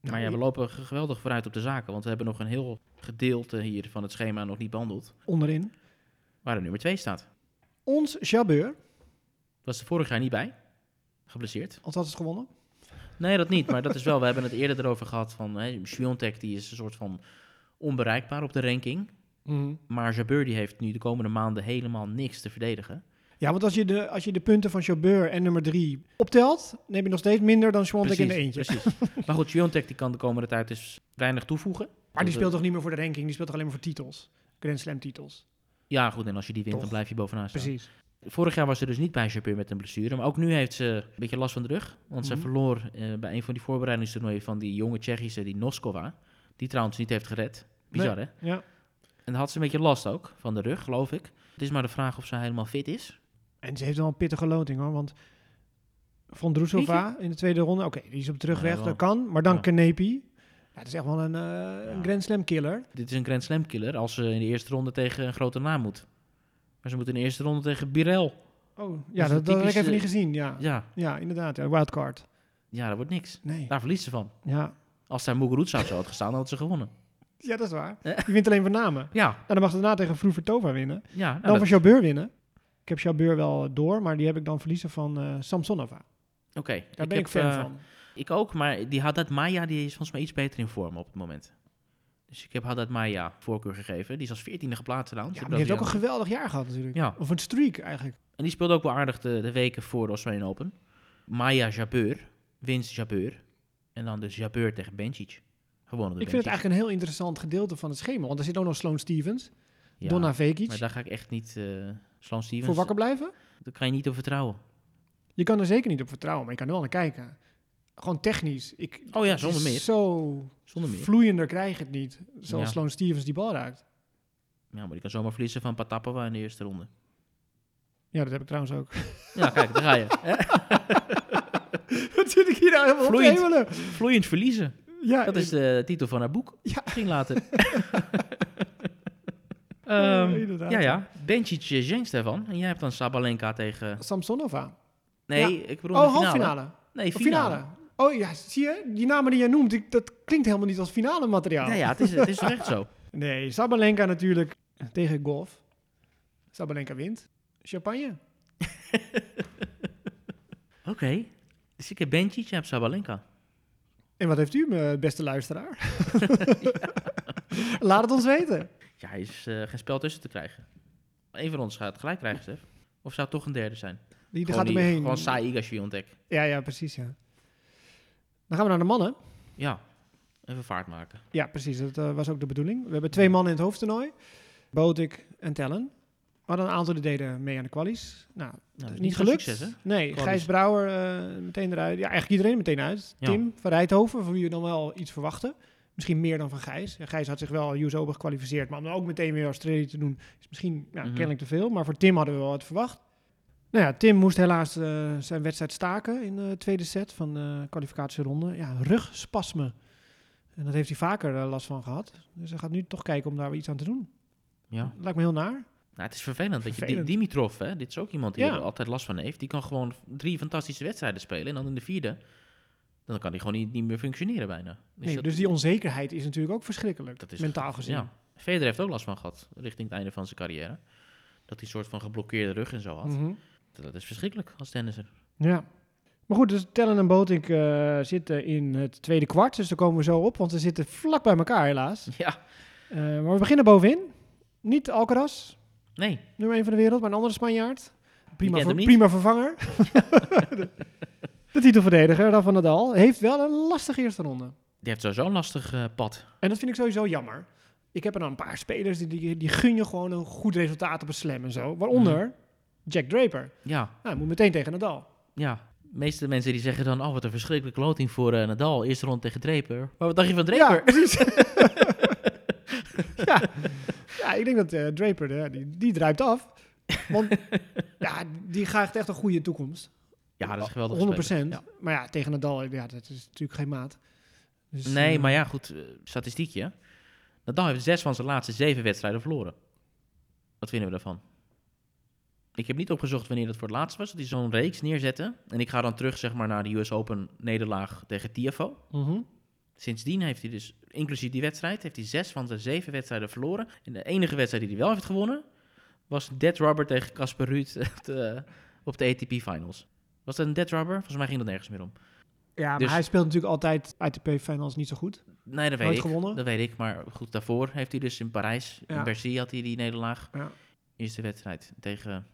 Nou,
maar ja, we lopen ge- geweldig vooruit op de zaken. Want we hebben nog een heel gedeelte hier van het schema nog niet behandeld.
Onderin.
Waar de nummer 2 staat.
Ons Jabeur,
Was er vorig jaar niet bij. Geblesseerd.
als had het gewonnen.
Nee, dat niet. Maar dat is wel. We hebben het eerder erover gehad van. hè, Sviontek die is een soort van onbereikbaar op de ranking. Maar Jabeur die heeft nu de komende maanden helemaal niks te verdedigen.
Ja, want als je, de, als je de punten van Jabeur en nummer 3 optelt, dan heb je nog steeds minder dan Schwantek in de eentje.
precies. Maar goed, Sviontek die kan de komende tijd dus weinig toevoegen.
Maar die
Dat-
speelt toch niet meer voor de ranking, die speelt toch alleen maar voor titels. Grand Slam titels.
Ja, goed. En als je die wint,
Toch.
dan blijf je bovenaan staan.
Precies.
Vorig jaar was ze dus niet bij Japeur met een blessure. Maar ook nu heeft ze een beetje last van de rug. Want
Mhm.
ze verloor eh, bij een van die voorbereidingstoernooien van die jonge Tsjechische, die Noskova. Die trouwens niet heeft gered. Bizar, hè?
Ja.
En had ze een beetje last ook van de rug, geloof ik. Het is maar de vraag of ze helemaal fit is.
En ze heeft wel een pittige loting hoor, want Von Drusova in de tweede ronde, oké, die is op terugweg,
Ja, wel.
dat kan. Maar dan
Ja.
Kanepi. Ja, dat is echt wel een, eh, een
Ja.
Grand Slam killer.
Dit is een Grand Slam killer als ze in de eerste ronde tegen een grote naam moet. Maar ze moet in de eerste ronde tegen Birel.
Oh,
is
ja, dat, dat
een
heb ik
typische-
even niet gezien, ja.
Ja,
Ja, inderdaad, ja, wildcard.
ja daar wordt niks.
Nee,
Daar verliest ze van.
ja.
Als daar Muguruza op zo had gestaan, dan had ze gewonnen.
Ja, dat is waar.
Eh?
Je wint alleen van namen.
Ja,
En dan mag ze daarna tegen Vroevertova winnen.
ja. nou,
Dan
dat-
van Jabeur winnen. Ik heb Jabeur wel door, maar die heb ik dan verliezen van eh, Samsonova.
Oké.
Daar ben ik,
heb,
fan
eh,
van.
Ik ook, maar die Haddad Maya die is volgens mij iets beter in vorm op het moment. Dus ik heb Haddad Maya voorkeur gegeven. Die is als 14e geplaatst trouwens.
Ja,
De
maar die heeft ook een
Braziliaan.
geweldig jaar gehad natuurlijk.
Ja.
Of een streak eigenlijk.
En die speelde ook wel aardig de, de weken voor de Australian Open. Maya Jabeur, winst Jabeur. En dan dus Jabeur tegen Bencic. Gewonnen door
Ik vind het
Bencic.
eigenlijk een heel interessant gedeelte van het schema. Want er zit ook nog Sloan Stevens,
Ja,
Donna Vekic.
Maar daar ga ik echt niet... eh Sloan Stevens,
Voor wakker blijven?
daar kan je niet op vertrouwen.
Je kan er zeker niet op vertrouwen, maar je kan er wel naar kijken. Gewoon technisch. Ik,
Oh ja,
het
zonder
is
meer.
Zo
Zonder meer.
vloeiender krijg je het niet. Zoals
Ja.
Sloan Stevens die bal raakt.
Ja, maar die kan zomaar verliezen van Patapava in de eerste ronde.
Ja, dat heb ik trouwens ook.
Ja, kijk, daar ga je. Hè?
Wat zit ik hier nou helemaal op te
Vloeiend.
hemelen?
Vloeiend verliezen.
Ja,
Dat is de titel van haar boek.
Ja.
Misschien later.
Ja,
Ehm,
inderdaad.
ja, ja. Bencic eh, Zhengst daarvan. En jij hebt dan Sabalenka tegen...
Samsonova.
Nee, ik bedoel
Oh,
de finale.
halffinale.
Nee,
Of
finale.
finale. Oh ja, zie je? Die namen die jij noemt, ik- dat klinkt helemaal niet als finale materiaal.
Ja, ja, het is, het is toch echt zo.
Nee, Sabalenka natuurlijk tegen golf. Sabalenka wint. Champagne.
Oké. Dus ik heb Bencic, jij hebt Sabalenka.
En wat heeft u, eh, beste luisteraar? Laat het ons weten.
Ja, hij is eh, geen spel tussen te krijgen. Eén van ons gaat het gelijk krijgen, Stef. Of zou het toch een derde zijn?
Die
Gewoon
gaat
die-
ermee heen.
Gewoon saai Igashvi ontdek.
Ja, ja, precies. Ja. Dan gaan we naar de mannen.
Ja, even vaart maken.
Ja, precies. Dat eh, was ook de bedoeling. We hebben twee mannen in het hoofdtoernooi. Botik en Tellen. We hadden een aantal die deden mee aan de kwalies. Nou,
Nou,
dat
dat
is
is
niet
zo'n
gelukt.
succes, hè?
nee,
Kwalies.
Gijs Brouwer eh, meteen eruit. Ja, eigenlijk iedereen meteen uit.
Ja.
Tim van Rijthoven, voor wie je dan wel iets verwachtte. Misschien meer dan van Gijs. Ja, Gijs had zich wel US Open gekwalificeerd. Maar om dan ook meteen weer Australië te doen, is misschien nou,
Mhm.
kennelijk te veel. Maar voor Tim hadden we wel wat verwacht. Nou ja, Tim moest helaas eh, zijn wedstrijd staken in de tweede set van de kwalificatieronde. Ja, rugspasme. En dat heeft hij vaker eh, last van gehad. Dus hij gaat nu toch kijken om daar weer iets aan te doen.
Ja.
Lijkt me heel naar.
Nou, het is vervelend. dat je
Vervelend.
Di- Dimitrov, hè, dit is ook iemand die
Ja.
er altijd last van heeft. Die kan gewoon drie fantastische wedstrijden spelen. En dan in de vierde, dan kan hij gewoon niet, niet meer functioneren bijna. Dus
Nee,
dat-
dus die onzekerheid is natuurlijk ook verschrikkelijk,
dat is-
mentaal gezien.
Ja. Federer heeft ook last van gehad, richting het einde van zijn carrière. Dat hij een soort van geblokkeerde rug en zo had.
Mhm.
Dat is verschrikkelijk als tennisser.
Ja. Maar goed, dus Tellen en Botink eh, zitten in het tweede kwart. Dus daar komen we zo op, want ze zitten vlak bij elkaar helaas.
Ja,
Eh, maar we beginnen bovenin. Niet Alcaraz,
nee.
nummer 1 van de wereld, maar een andere Spanjaard. Prima,
kent
ver-
hem niet.
prima vervanger. de titelverdediger, Rafa Nadal, heeft wel een lastige eerste ronde.
Die heeft sowieso een lastig eh, pad.
En dat vind ik sowieso jammer. Ik heb er dan een paar spelers die, die, die gun je gewoon een goed resultaat op een slam en zo. Waaronder
Mhm.
Jack Draper. Nou,
Ja,
hij moet meteen tegen Nadal.
ja. De meeste mensen die zeggen dan, oh wat een verschrikkelijke loting voor eh, Nadal. Eerste rond tegen Draper. Maar wat dacht je van Draper?
Ja, precies. ja. ja, ik denk dat eh, Draper, eh, die, die druipt af. Want ja, die krijgt echt een goede toekomst.
Ja, dat is een geweldige
100
speler. Ja.
Maar ja, tegen Nadal, ja, dat is natuurlijk geen maat. Dus,
Nee,
eh,
maar ja, goed, eh, statistiekje. Nadal heeft zes van zijn laatste zeven wedstrijden verloren. Wat vinden we daarvan? Ik heb niet opgezocht wanneer dat voor het laatst was, dat hij zo'n reeks neerzette. En ik ga dan terug zeg maar, naar de US Open nederlaag tegen Tiafo.
mhm.
Sindsdien heeft hij dus, inclusief die wedstrijd, heeft hij zes van zijn zeven wedstrijden verloren. En de enige wedstrijd die hij wel heeft gewonnen, was een dead rubber tegen Casper Ruud op de, eh, op de ATP Finals. Was dat een dead rubber? Volgens mij ging dat nergens meer om.
Ja, maar
Dus-
hij speelt natuurlijk altijd ITP-finals niet zo goed.
Nee, dat weet
Nooit
ik.
gewonnen?
Dat weet ik, maar goed, daarvoor heeft hij dus in Parijs,
Ja.
in Bercy had hij die nederlaag.
Ja.
Eerste wedstrijd tegen,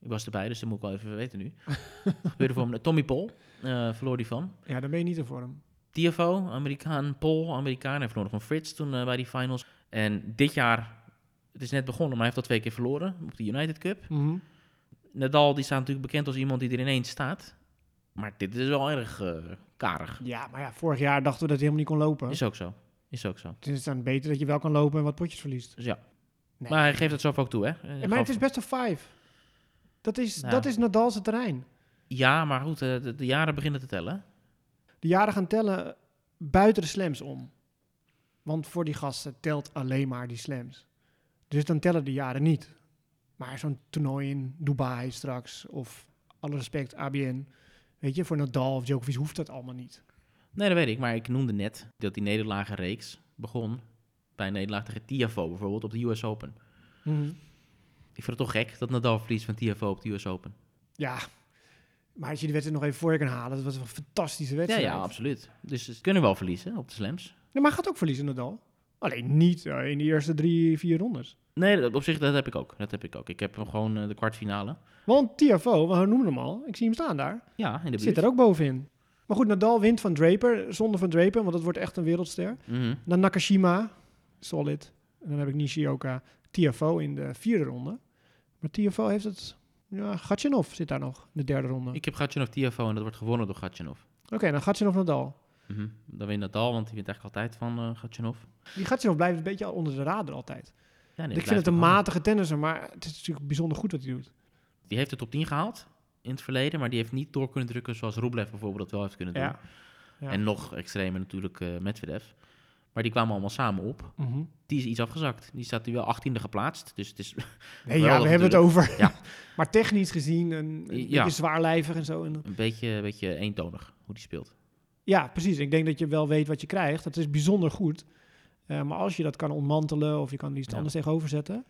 ik was erbij, dus dat moet ik wel even weten nu. Gebeurde voor hem. Tommy Pol eh, verloor die van.
Ja, dan ben je niet ervoor hem.
TFO, Amerikaan, Pol, Amerikaan, hij verloor van Fritz toen eh, bij die finals. En dit jaar, het is net begonnen, maar hij heeft al twee keer verloren op de United Cup.
Mhm.
Nadal, die staat natuurlijk bekend als iemand die er ineens staat. Maar dit is wel erg eh, karig.
Ja, maar ja, vorig jaar dachten we dat hij helemaal niet kon lopen.
Is ook zo. Is ook zo.
Dus het is dan beter dat je wel kan lopen en wat potjes verliest.
Dus ja.
Nee.
Maar hij geeft het zelf ook toe, hè? Hij
maar
gaf-
het is best of five. Dat is,
Ja.
dat is Nadal's terrein.
Ja, maar goed, eh, de, de jaren beginnen te tellen.
De jaren gaan tellen buiten de slams om. Want voor die gasten telt alleen maar die slams. Dus dan tellen de jaren niet. Maar zo'n toernooi in Dubai straks, of alle respect, ABN. Weet je, voor Nadal of Djokovic hoeft dat allemaal niet.
Nee, dat weet ik. Maar ik noemde net dat die nederlagenreeks begon bij een nederlaag tegen Tiafo bijvoorbeeld op de US Open. Mhm. Ik vind het toch gek dat Nadal verliest van Tiafo op de US Open.
Ja, maar als je die wedstrijd nog even voor je kan halen, dat was een fantastische
Ja,
wedstrijd.
ja, absoluut. Dus ze kunnen wel verliezen op de slams.
Nee, maar hij gaat ook verliezen, Nadal. Alleen niet eh, in de eerste drie, vier rondes.
Nee, dat, op zich, dat heb ik ook. Dat heb ik ook. Ik heb hem gewoon eh, de kwartfinale.
Want TFO, we noemen hem al, ik zie hem staan daar.
Ja, in de buurt.
Zit er ook bovenin. Maar goed, Nadal wint van Draper. Zonder van Draper, want dat wordt echt een wereldster.
Mhm.
Dan Nakashima, solid. En dan heb ik Nishioka, TFO in de vierde ronde. Maar TFO heeft het... Ja, Gatchinov zit daar nog, in de derde ronde.
Ik heb Gatjanov Tiafo en dat wordt gewonnen door Gatjanov.
Oké, dan Gatchinov Nadal.
Mhm. Dan wint Nadal, want die wint eigenlijk altijd van eh Gatjanov.
Die Gatchinov blijft een beetje onder de radar altijd.
Ja, nee,
ik
blijft
vind het een
ook hangen.
matige tennisser, maar het is natuurlijk bijzonder goed wat hij doet.
Die heeft de top 10 gehaald in het verleden, maar die heeft niet door kunnen drukken zoals Rublev bijvoorbeeld dat wel heeft kunnen doen.
Ja. Ja.
En nog extremer natuurlijk eh Medvedev. Maar die kwamen allemaal samen op.
Mhm.
Die is iets afgezakt. Die staat nu wel 18e geplaatst. Dus het is,
Nee, ja,
Geweldig
we hebben het over.
Ja.
maar technisch gezien, een, een
Ja.
beetje zwaarlijvig en zo. En,
een, beetje, een beetje eentonig hoe die speelt.
ja, precies. Ik denk dat je wel weet wat je krijgt. Dat is bijzonder goed. Eh, maar als je dat kan ontmantelen of je kan er iets
Ja.
anders tegenover zetten.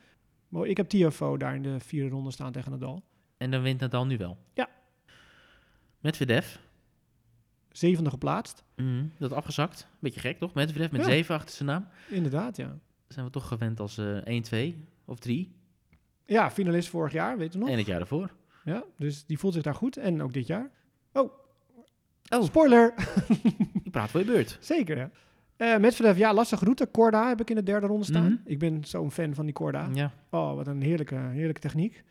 Maar ik heb TFO daar in de vierde ronde staan tegen Nadal.
En dan wint Nadal nu wel.
Ja.
Medvedev.
Zevende geplaatst.
Mhm, Dat afgezakt. Beetje gek toch? Met met
Ja.
7 achter zijn naam.
Inderdaad, ja.
Zijn we toch gewend als eh 1, 2 of 3.
Ja, finalist vorig jaar, weet je nog?
En het jaar daarvoor.
Ja, dus die voelt zich daar goed. En ook dit jaar. Oh,
Oh.
spoiler!
Je praat voor je beurt.
Zeker, ja. Eh Medvedev, ja, lastige route. Corda heb ik in de derde ronde staan.
Mhm.
Ik ben zo'n fan van die Corda.
Ja.
Oh, wat een heerlijke, heerlijke techniek.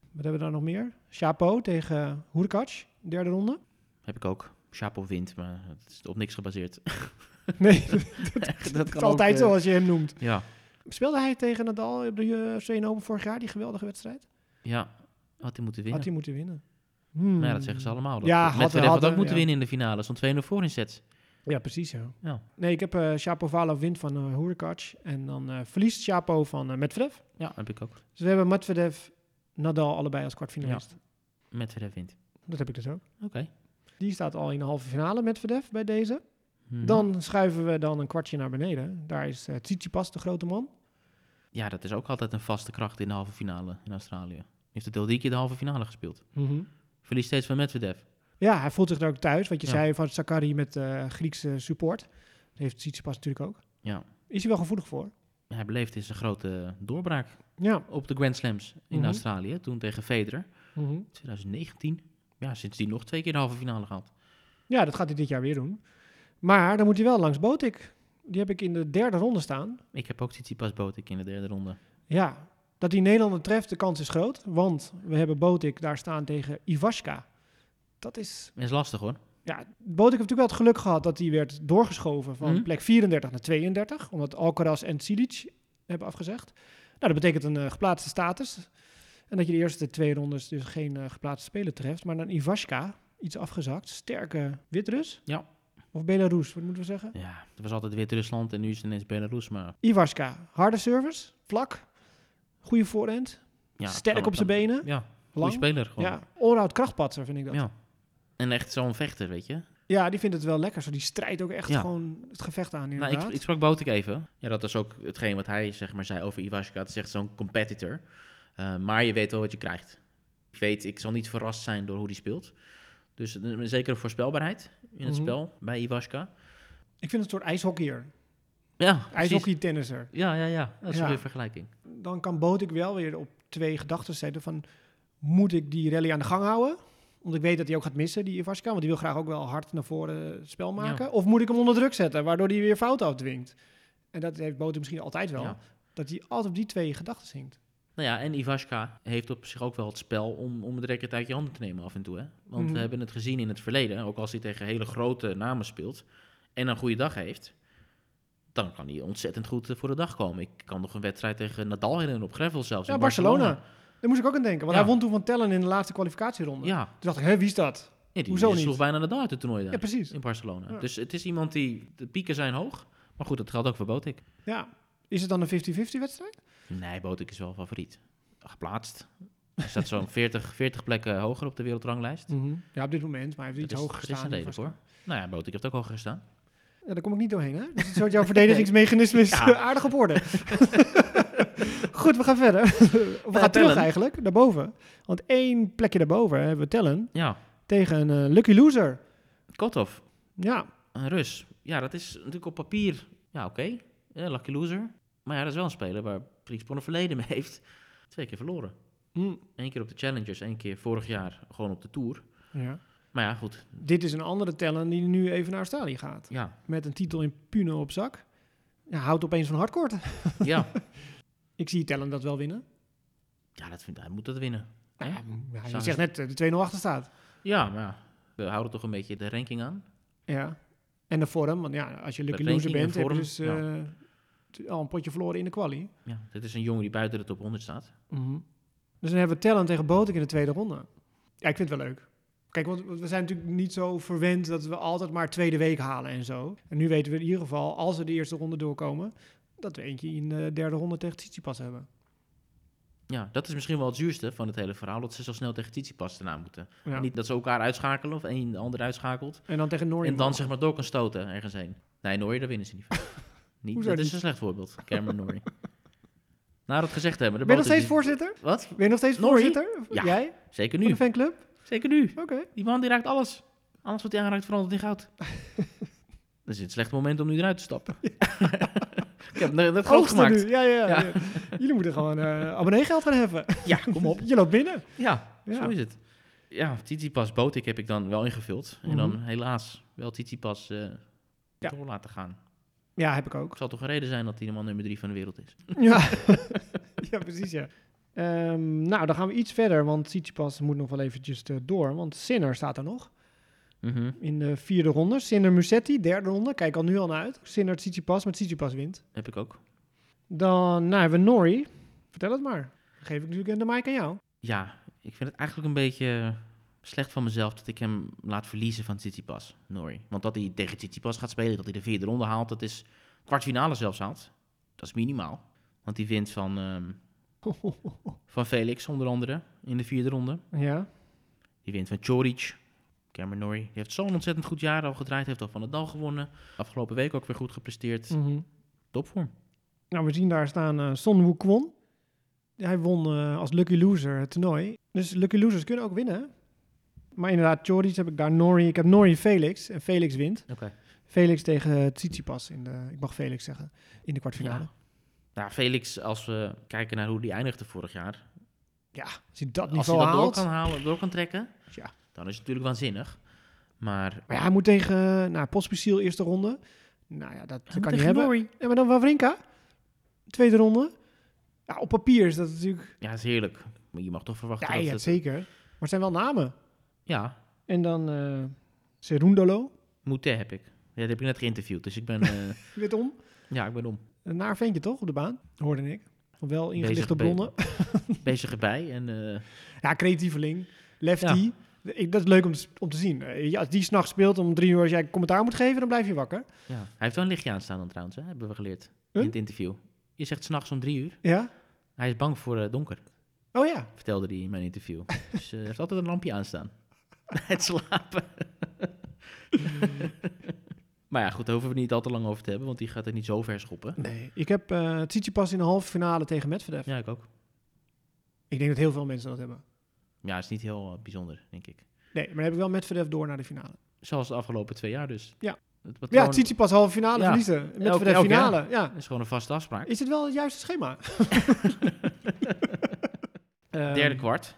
Wat hebben we daar nog meer? Chapeau tegen Hurkac, derde ronde.
Heb ik ook. Chapo wint, maar het is op niks gebaseerd.
Nee,
dat
het is altijd
ook,
zo
eh,
als je hem noemt.
Ja.
Speelde hij tegen Nadal op de USC Open vorig jaar, die geweldige wedstrijd?
ja, had hij moeten winnen.
Had hij moeten winnen. Hmm.
Maar ja, dat zeggen ze allemaal. Dat
Ja,
ja,
had-
Medvedev had,
hadden,
ook moeten
ja.
winnen in de finale. Stond 2-0 voor in sets.
Ja, precies zo.
Ja.
Nee, ik heb eh Shapovalov wint van eh Hurkac en dan eh, verliest Chapo van eh Medvedev.
Ja, heb ik ook.
Dus we hebben Medvedev, Nadal allebei als kwartfinalist.
Medvedev wint.
Dat heb ik dus ook.
Oké.
Die staat al in de halve finale Medvedev bij deze.
Mhm.
Dan schuiven we dan een kwartje naar beneden. Daar is eh Tsitsipas de grote man.
Ja, dat is ook altijd een vaste kracht in de halve finale in Australië. Hij Heeft het al drie keer de halve finale gespeeld. Verliest steeds van Medvedev.
Ja, hij voelt zich daar ook thuis. Wat je
Ja.
zei van Sakari met eh, Griekse support. Dat heeft Tsitsipas natuurlijk ook.
Ja.
Is hij wel gevoelig voor?
Hij beleefde zijn grote doorbraak
Ja.
op de Grand Slams in
Mhm.
Australië. Toen tegen Federer. 2019. Ja, sindsdien nog twee keer de halve finale gehad.
Ja, dat gaat hij dit jaar weer doen. Maar dan moet hij wel langs Botik. Die heb ik in de derde ronde staan.
Ik heb ook Tsitsipas Botik in de derde ronde.
Ja, dat hij Nederlander treft, de kans is groot. Want we hebben Botik daar staan tegen Iwashka. Dat is
Dat is lastig hoor.
Ja, Botik heeft natuurlijk wel het geluk gehad dat hij werd doorgeschoven van
Mhm.
plek 34 naar 32, omdat Alcaraz en Cilic hebben afgezegd. Nou, dat betekent een eh, geplaatste status. En dat je de eerste twee rondes dus geen eh, geplaatste speler treft, maar dan Ivashka, iets afgezakt, sterke Witrus.
Ja.
Of Belarus, wat moeten we zeggen?
Ja, het was altijd Wit-Rusland en nu is het ineens Belarus. Maar
Ivashka, harde service, vlak, goede voorhand,
ja,
sterk
kan-
op zijn
kan-
benen,
Ja, goede
lang.
speler gewoon.
Ja, allround krachtpatser vind ik dat. Ja.
Ja. En echt zo'n vechter, weet je. Nou,
die vindt het wel lekker, zo die strijdt ook echt
Ja.
gewoon het gevecht aan
Nou,
inderdaad.
ik, ik sprak Botik even. Ja, dat is ook hetgeen wat hij zeg maar, zei over Iwashka. Het is echt zo'n competitor. Eh, maar je weet wel wat je krijgt. Ik weet, ik zal niet verrast zijn door hoe die speelt. Dus een een zekere voorspelbaarheid in het
Mhm.
spel bij Iwashka.
ik vind het een soort ijshockeyer.
Ja, precies.
ijshockey-tennisser.
Ja, ja, ja. Dat is
Ja.
een goede vergelijking.
Dan kan Botik wel weer op twee gedachten zetten van... moet ik die rally aan de gang houden? Want ik weet dat hij ook gaat missen, die Ivaska. Want die wil graag ook wel hard naar voren eh, spel maken. Of moet ik hem onder druk zetten, waardoor hij weer fout afdwingt? En dat heeft Botik misschien altijd wel.
Ja.
Dat hij altijd op die twee gedachten zingt.
Nou ja, en Ivaschka heeft op zich ook wel het spel om, om het racket uit je handen te nemen af en toe. Hè? Want
Mhm.
we hebben het gezien in het verleden, ook als hij tegen hele grote namen speelt en een goede dag heeft, dan kan hij ontzettend goed eh, voor de dag komen. Ik kan nog een wedstrijd tegen Nadal herinneren op gravel zelfs.
Ja,
in
Barcelona. Daar moest ik ook aan denken. Want
Ja.
hij won toen van Tellen in de laatste kwalificatieronde.
Ja,
Toen dacht ik, hè, wie is dat?
Ja, die
Hoezo
sloeg
niet?
bijna Nadal uit het toernooi daar
Ja, precies.
in Barcelona.
Ja.
Dus het is iemand die, de pieken zijn hoog, maar goed, dat geldt ook voor Botik.
Ja. Is het dan een 50-50 wedstrijd?
Nee, Botik is wel favoriet. Geplaatst. Hij staat zo'n 40, 40 plekken hoger op de wereldranglijst.
Ja, op dit moment. Maar hij heeft
Mhm. Dat
iets
is-
hoger
dat is
gestaan.
een reden voor. Nou ja, Botik heeft ook hoger gestaan.
Ja, daar kom ik niet doorheen, hè? Dus het soort jouw verdedigingsmechanisme is
Ja.
aardig op orde. Goed, we gaan verder. We gaan terug
tellen.
eigenlijk, naar boven. Want één plekje daarboven hebben we tellen
Ja,
tegen een eh, lucky loser.
Kotov,
Ja,
een Rus. Ja, dat is natuurlijk op papier, ja oké, Ja, lucky loser. Maar ja, dat is wel een speler waar Priekspon een verleden mee heeft. Twee keer verloren. Eén keer op de Challengers, één keer vorig jaar gewoon op de Tour.
ja.
Maar ja, goed.
dit is een andere tellen die nu even naar Australië gaat.
Ja,
Met een titel in Puno op zak. Ja, houdt opeens van hardcourt.
ja.
Ik zie tellen dat wel winnen.
ja dat vindt, hij moet dat winnen.
Nou Ja, ja, je
Zou-
zegt net eh, de 2-0 achter staat.
Ja, maar ja, we houden toch een beetje de ranking aan.
Ja. En de vorm, want ja, als je lucky
ranking
loser
en
bent, heb je
vorm,
dus eh, t- al een potje verloren in de quali.
Ja, dit is een jongen die buiten de top 100 staat.
Dus dan hebben we Tellen tegen Botik in de tweede ronde. Ja, ik vind het wel leuk. Kijk, want we zijn natuurlijk niet zo verwend dat we altijd maar tweede week halen en zo. En nu weten we in ieder geval, als we de eerste ronde doorkomen, dat we eentje in de derde ronde tegen Tsitsipas hebben.
Ja, dat is misschien wel het zuurste van het hele verhaal, dat ze zo snel tegen Tsitsipas daarna moeten.
Ja.
En niet dat ze elkaar uitschakelen of één de ander uitschakelt.
En dan tegen Norrie.
En dan zeg maar door kan stoten ergens heen. Nee, Norrie, daar winnen ze niet van. niet,
Hoezo
dat is
niet?
een slecht voorbeeld, Cameron Norrie. Na dat gezegd te hebben... de
ben je nog
boot
steeds
is
voorzitter?
niet- Wat?
Ben je nog steeds
Norrie?
voorzitter?
Ja.
Jij?
Zeker
Van de
nu.
fanclub?
Zeker nu.
Oké.
Die man die raakt alles. Alles wat hij aanraakt verandert in goud. dat is het slecht moment om nu eruit te stappen. ik heb net, net groot
Oogsten
gemaakt.
nu. Ja, ja, ja.
Ja.
Jullie moeten gewoon eh abonneegeld gaan heffen.
Ja, kom op.
Je loopt binnen.
Ja,
Ja.
zo is het. Ja, Titipas Botik heb ik dan wel ingevuld. En dan helaas wel Titipas eh
Mhm. Ja.
door laten gaan.
Ja, heb ik ook.
Het zal toch een reden zijn dat hij de man nummer drie van de wereld is.
Ja, ja precies, ja. Ehm, nou, dan gaan we iets verder, want Tsitsipas moet nog wel eventjes eh, door. Want Sinner staat er nog
Mhm.
in de vierde ronde. Sinner Musetti, derde ronde. Kijk al nu al naar uit. Sinner Tsitsipas, maar Tsitsipas wint.
Heb ik ook.
Dan nou, hebben we Nori. Vertel het maar. Dan geef ik natuurlijk de mic aan jou.
Ja, ik vind het eigenlijk een beetje slecht van mezelf dat ik hem laat verliezen van Tsitsipas, Nori. Want dat hij tegen Tsitsipas gaat spelen, dat hij de vierde ronde haalt, dat is kwartfinale zelfs haalt. Dat is minimaal. Want die wint van, ehm, van Felix onder andere in de vierde ronde.
ja.
Die wint van Choric. Cameron Norrie. Die heeft zo'n ontzettend goed jaar al gedraaid. Heeft al van het dal gewonnen. Afgelopen week ook weer goed gepresteerd.
Mhm.
Topvorm.
Nou, we zien daar staan eh, Son Woo Kwon. Hij won eh, als lucky loser het toernooi. Dus lucky losers kunnen ook winnen. hè? Maar inderdaad, Choric heb ik daar Nori. Ik heb Nori Felix. En Felix wint.
Oké.
Felix tegen eh, Tsitsipas in de, ik mag Felix zeggen, in de kwartfinale.
Ja. Nou, Felix, als we kijken naar hoe die eindigde vorig jaar.
Als hij dat
Als hij
niveau
dat door
haalt.
kan halen, door kan trekken.
Tja.
Dan is het natuurlijk waanzinnig. Maar,
Maar ja, hij moet tegen, eh, nou, Pospisil eerste ronde. Nou ja, dat
moet
kan hij
tegen
hebben.
Norrie.
Ja, maar dan Wawrinka, tweede ronde. Ja, op papier is dat natuurlijk,
Ja, dat is heerlijk. Maar je mag toch verwachten
ja,
dat
ja,
het-
zeker. Maar het zijn wel namen.
Ja,
En dan eh Serundolo,
Moutet heb ik. Ja, die heb ik net geïnterviewd. Dus ik ben, eh,
wit om.
ja, ik ben om.
Een naar ventje toch, op de baan, hoorde ik. Wel ingelichte
Bezig
bronnen.
Bezig erbij. En eh,
Ja, creatieveling, lefty. Ik, dat is leuk om te, om te zien. Eh, Ja, als die s'nachts speelt om drie uur, als jij commentaar moet geven, dan blijf je wakker.
ja. hij heeft wel een lichtje aanstaan dan trouwens. Hè? Hebben we geleerd.
Huh?
In het interview. Je zegt s'nachts om drie uur.
Ja?
Hij is bang voor eh, donker,
Oh ja,
vertelde hij in mijn interview. Dus eh, hij heeft altijd een lampje aanstaan. Het slapen. maar ja, goed, daar hoeven we het niet al te lang over te hebben, want die gaat het niet zo ver schoppen.
Nee, ik heb eh Tsitsipas in de halve finale tegen Medvedev.
Ja, ik ook.
Ik denk dat heel veel mensen dat hebben.
Ja, is niet heel eh, bijzonder, denk ik.
Nee, maar dan heb ik wel Medvedev door naar de finale.
Zoals de afgelopen twee jaar dus.
Ja.
Het
Ja,
patroon
Tsitsipas halve finale
Ja.
verliezen. Medvedev
elk
finale. Ja.
is gewoon een vaste afspraak.
Is het wel het juiste schema? Ehm,
Derde kwart,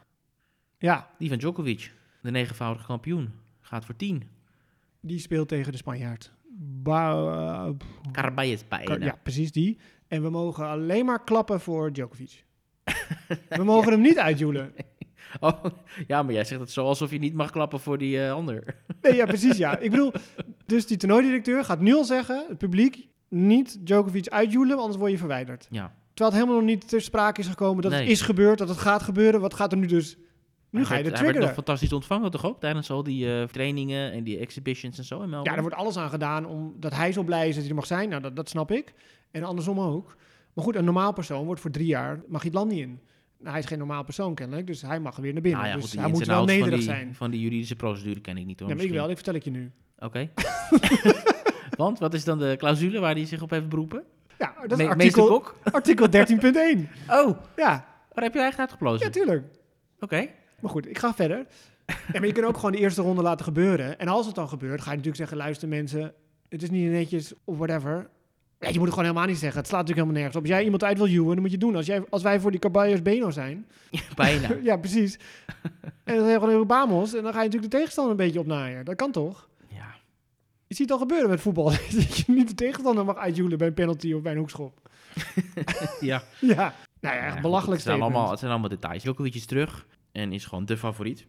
Ja,
die van Djokovic, de negenvoudige kampioen, gaat voor tien.
die speelt tegen de Spanjaard. Ba- eh,
Carabajez bijna.
ja, precies die. En we mogen alleen maar klappen voor Djokovic. We mogen hem niet uitjoelen.
Oh, ja, maar jij zegt het zo alsof je niet mag klappen voor die eh, ander.
Nee, ja, precies, ja. Ik bedoel, dus die toernooidirecteur gaat nu al zeggen, het publiek, niet Djokovic uitjoelen, anders word je verwijderd.
Ja,
Terwijl het helemaal nog niet ter sprake is gekomen dat het
Nee.
is gebeurd, dat het gaat gebeuren. Wat gaat er nu dus? Nu
Hij
ga je de
werd- Hij werd nog
triggeren.
fantastisch ontvangen, toch ook? Tijdens al die eh, trainingen en die exhibitions en zo in
Ja,
Melbourne.
er wordt alles aan gedaan omdat hij zo blij is dat hij er mag zijn. Nou, dat, dat snap ik. En andersom ook. Maar goed, een normaal persoon wordt voor drie jaar, mag je het land niet in. Nou, hij is geen normaal persoon kennelijk, dus hij mag weer naar binnen.
Nou ja,
dus
goed, die
hij
ins
moet
en
wel
outs
nederig
van die,
zijn.
Van die juridische procedure ken ik niet hoor.
Ja, maar ik wel,
misschien.
dat vertel ik je nu.
Oké. Want wat is dan de clausule waar hij zich op heeft beroepen?
Ja, Oh, dat is
Me-
artikel,
meester Kok?
artikel 13.1.
Oh,
Ja,
waar heb je eigenlijk uitgeplozen?
ja, tuurlijk.
Oké.
Maar goed, ik ga verder. Ja, maar je kunt ook gewoon de eerste ronde laten gebeuren. En als het dan gebeurt, ga je natuurlijk zeggen: luister mensen, het is niet netjes of whatever. Ja, je moet het gewoon helemaal niet zeggen. Het slaat natuurlijk helemaal nergens op. Als jij iemand uit wil juwen, dan moet je het doen. Als, jij, als wij voor die Caballos Beno zijn.
Bijna.
Ja, precies. en dan zijn we gewoon heel Bamos. En dan ga je natuurlijk de tegenstander een beetje opnaaien. Dat kan toch?
Ja.
Je ziet het al gebeuren met voetbal. dat je niet de tegenstander mag uitjoelen bij een penalty of bij een hoekschop.
ja.
Ja, nou ja, echt
Ja, goed,
belachelijk
het zijn,
statement.
allemaal, het zijn allemaal details. Djokovic is terug en is gewoon de favoriet.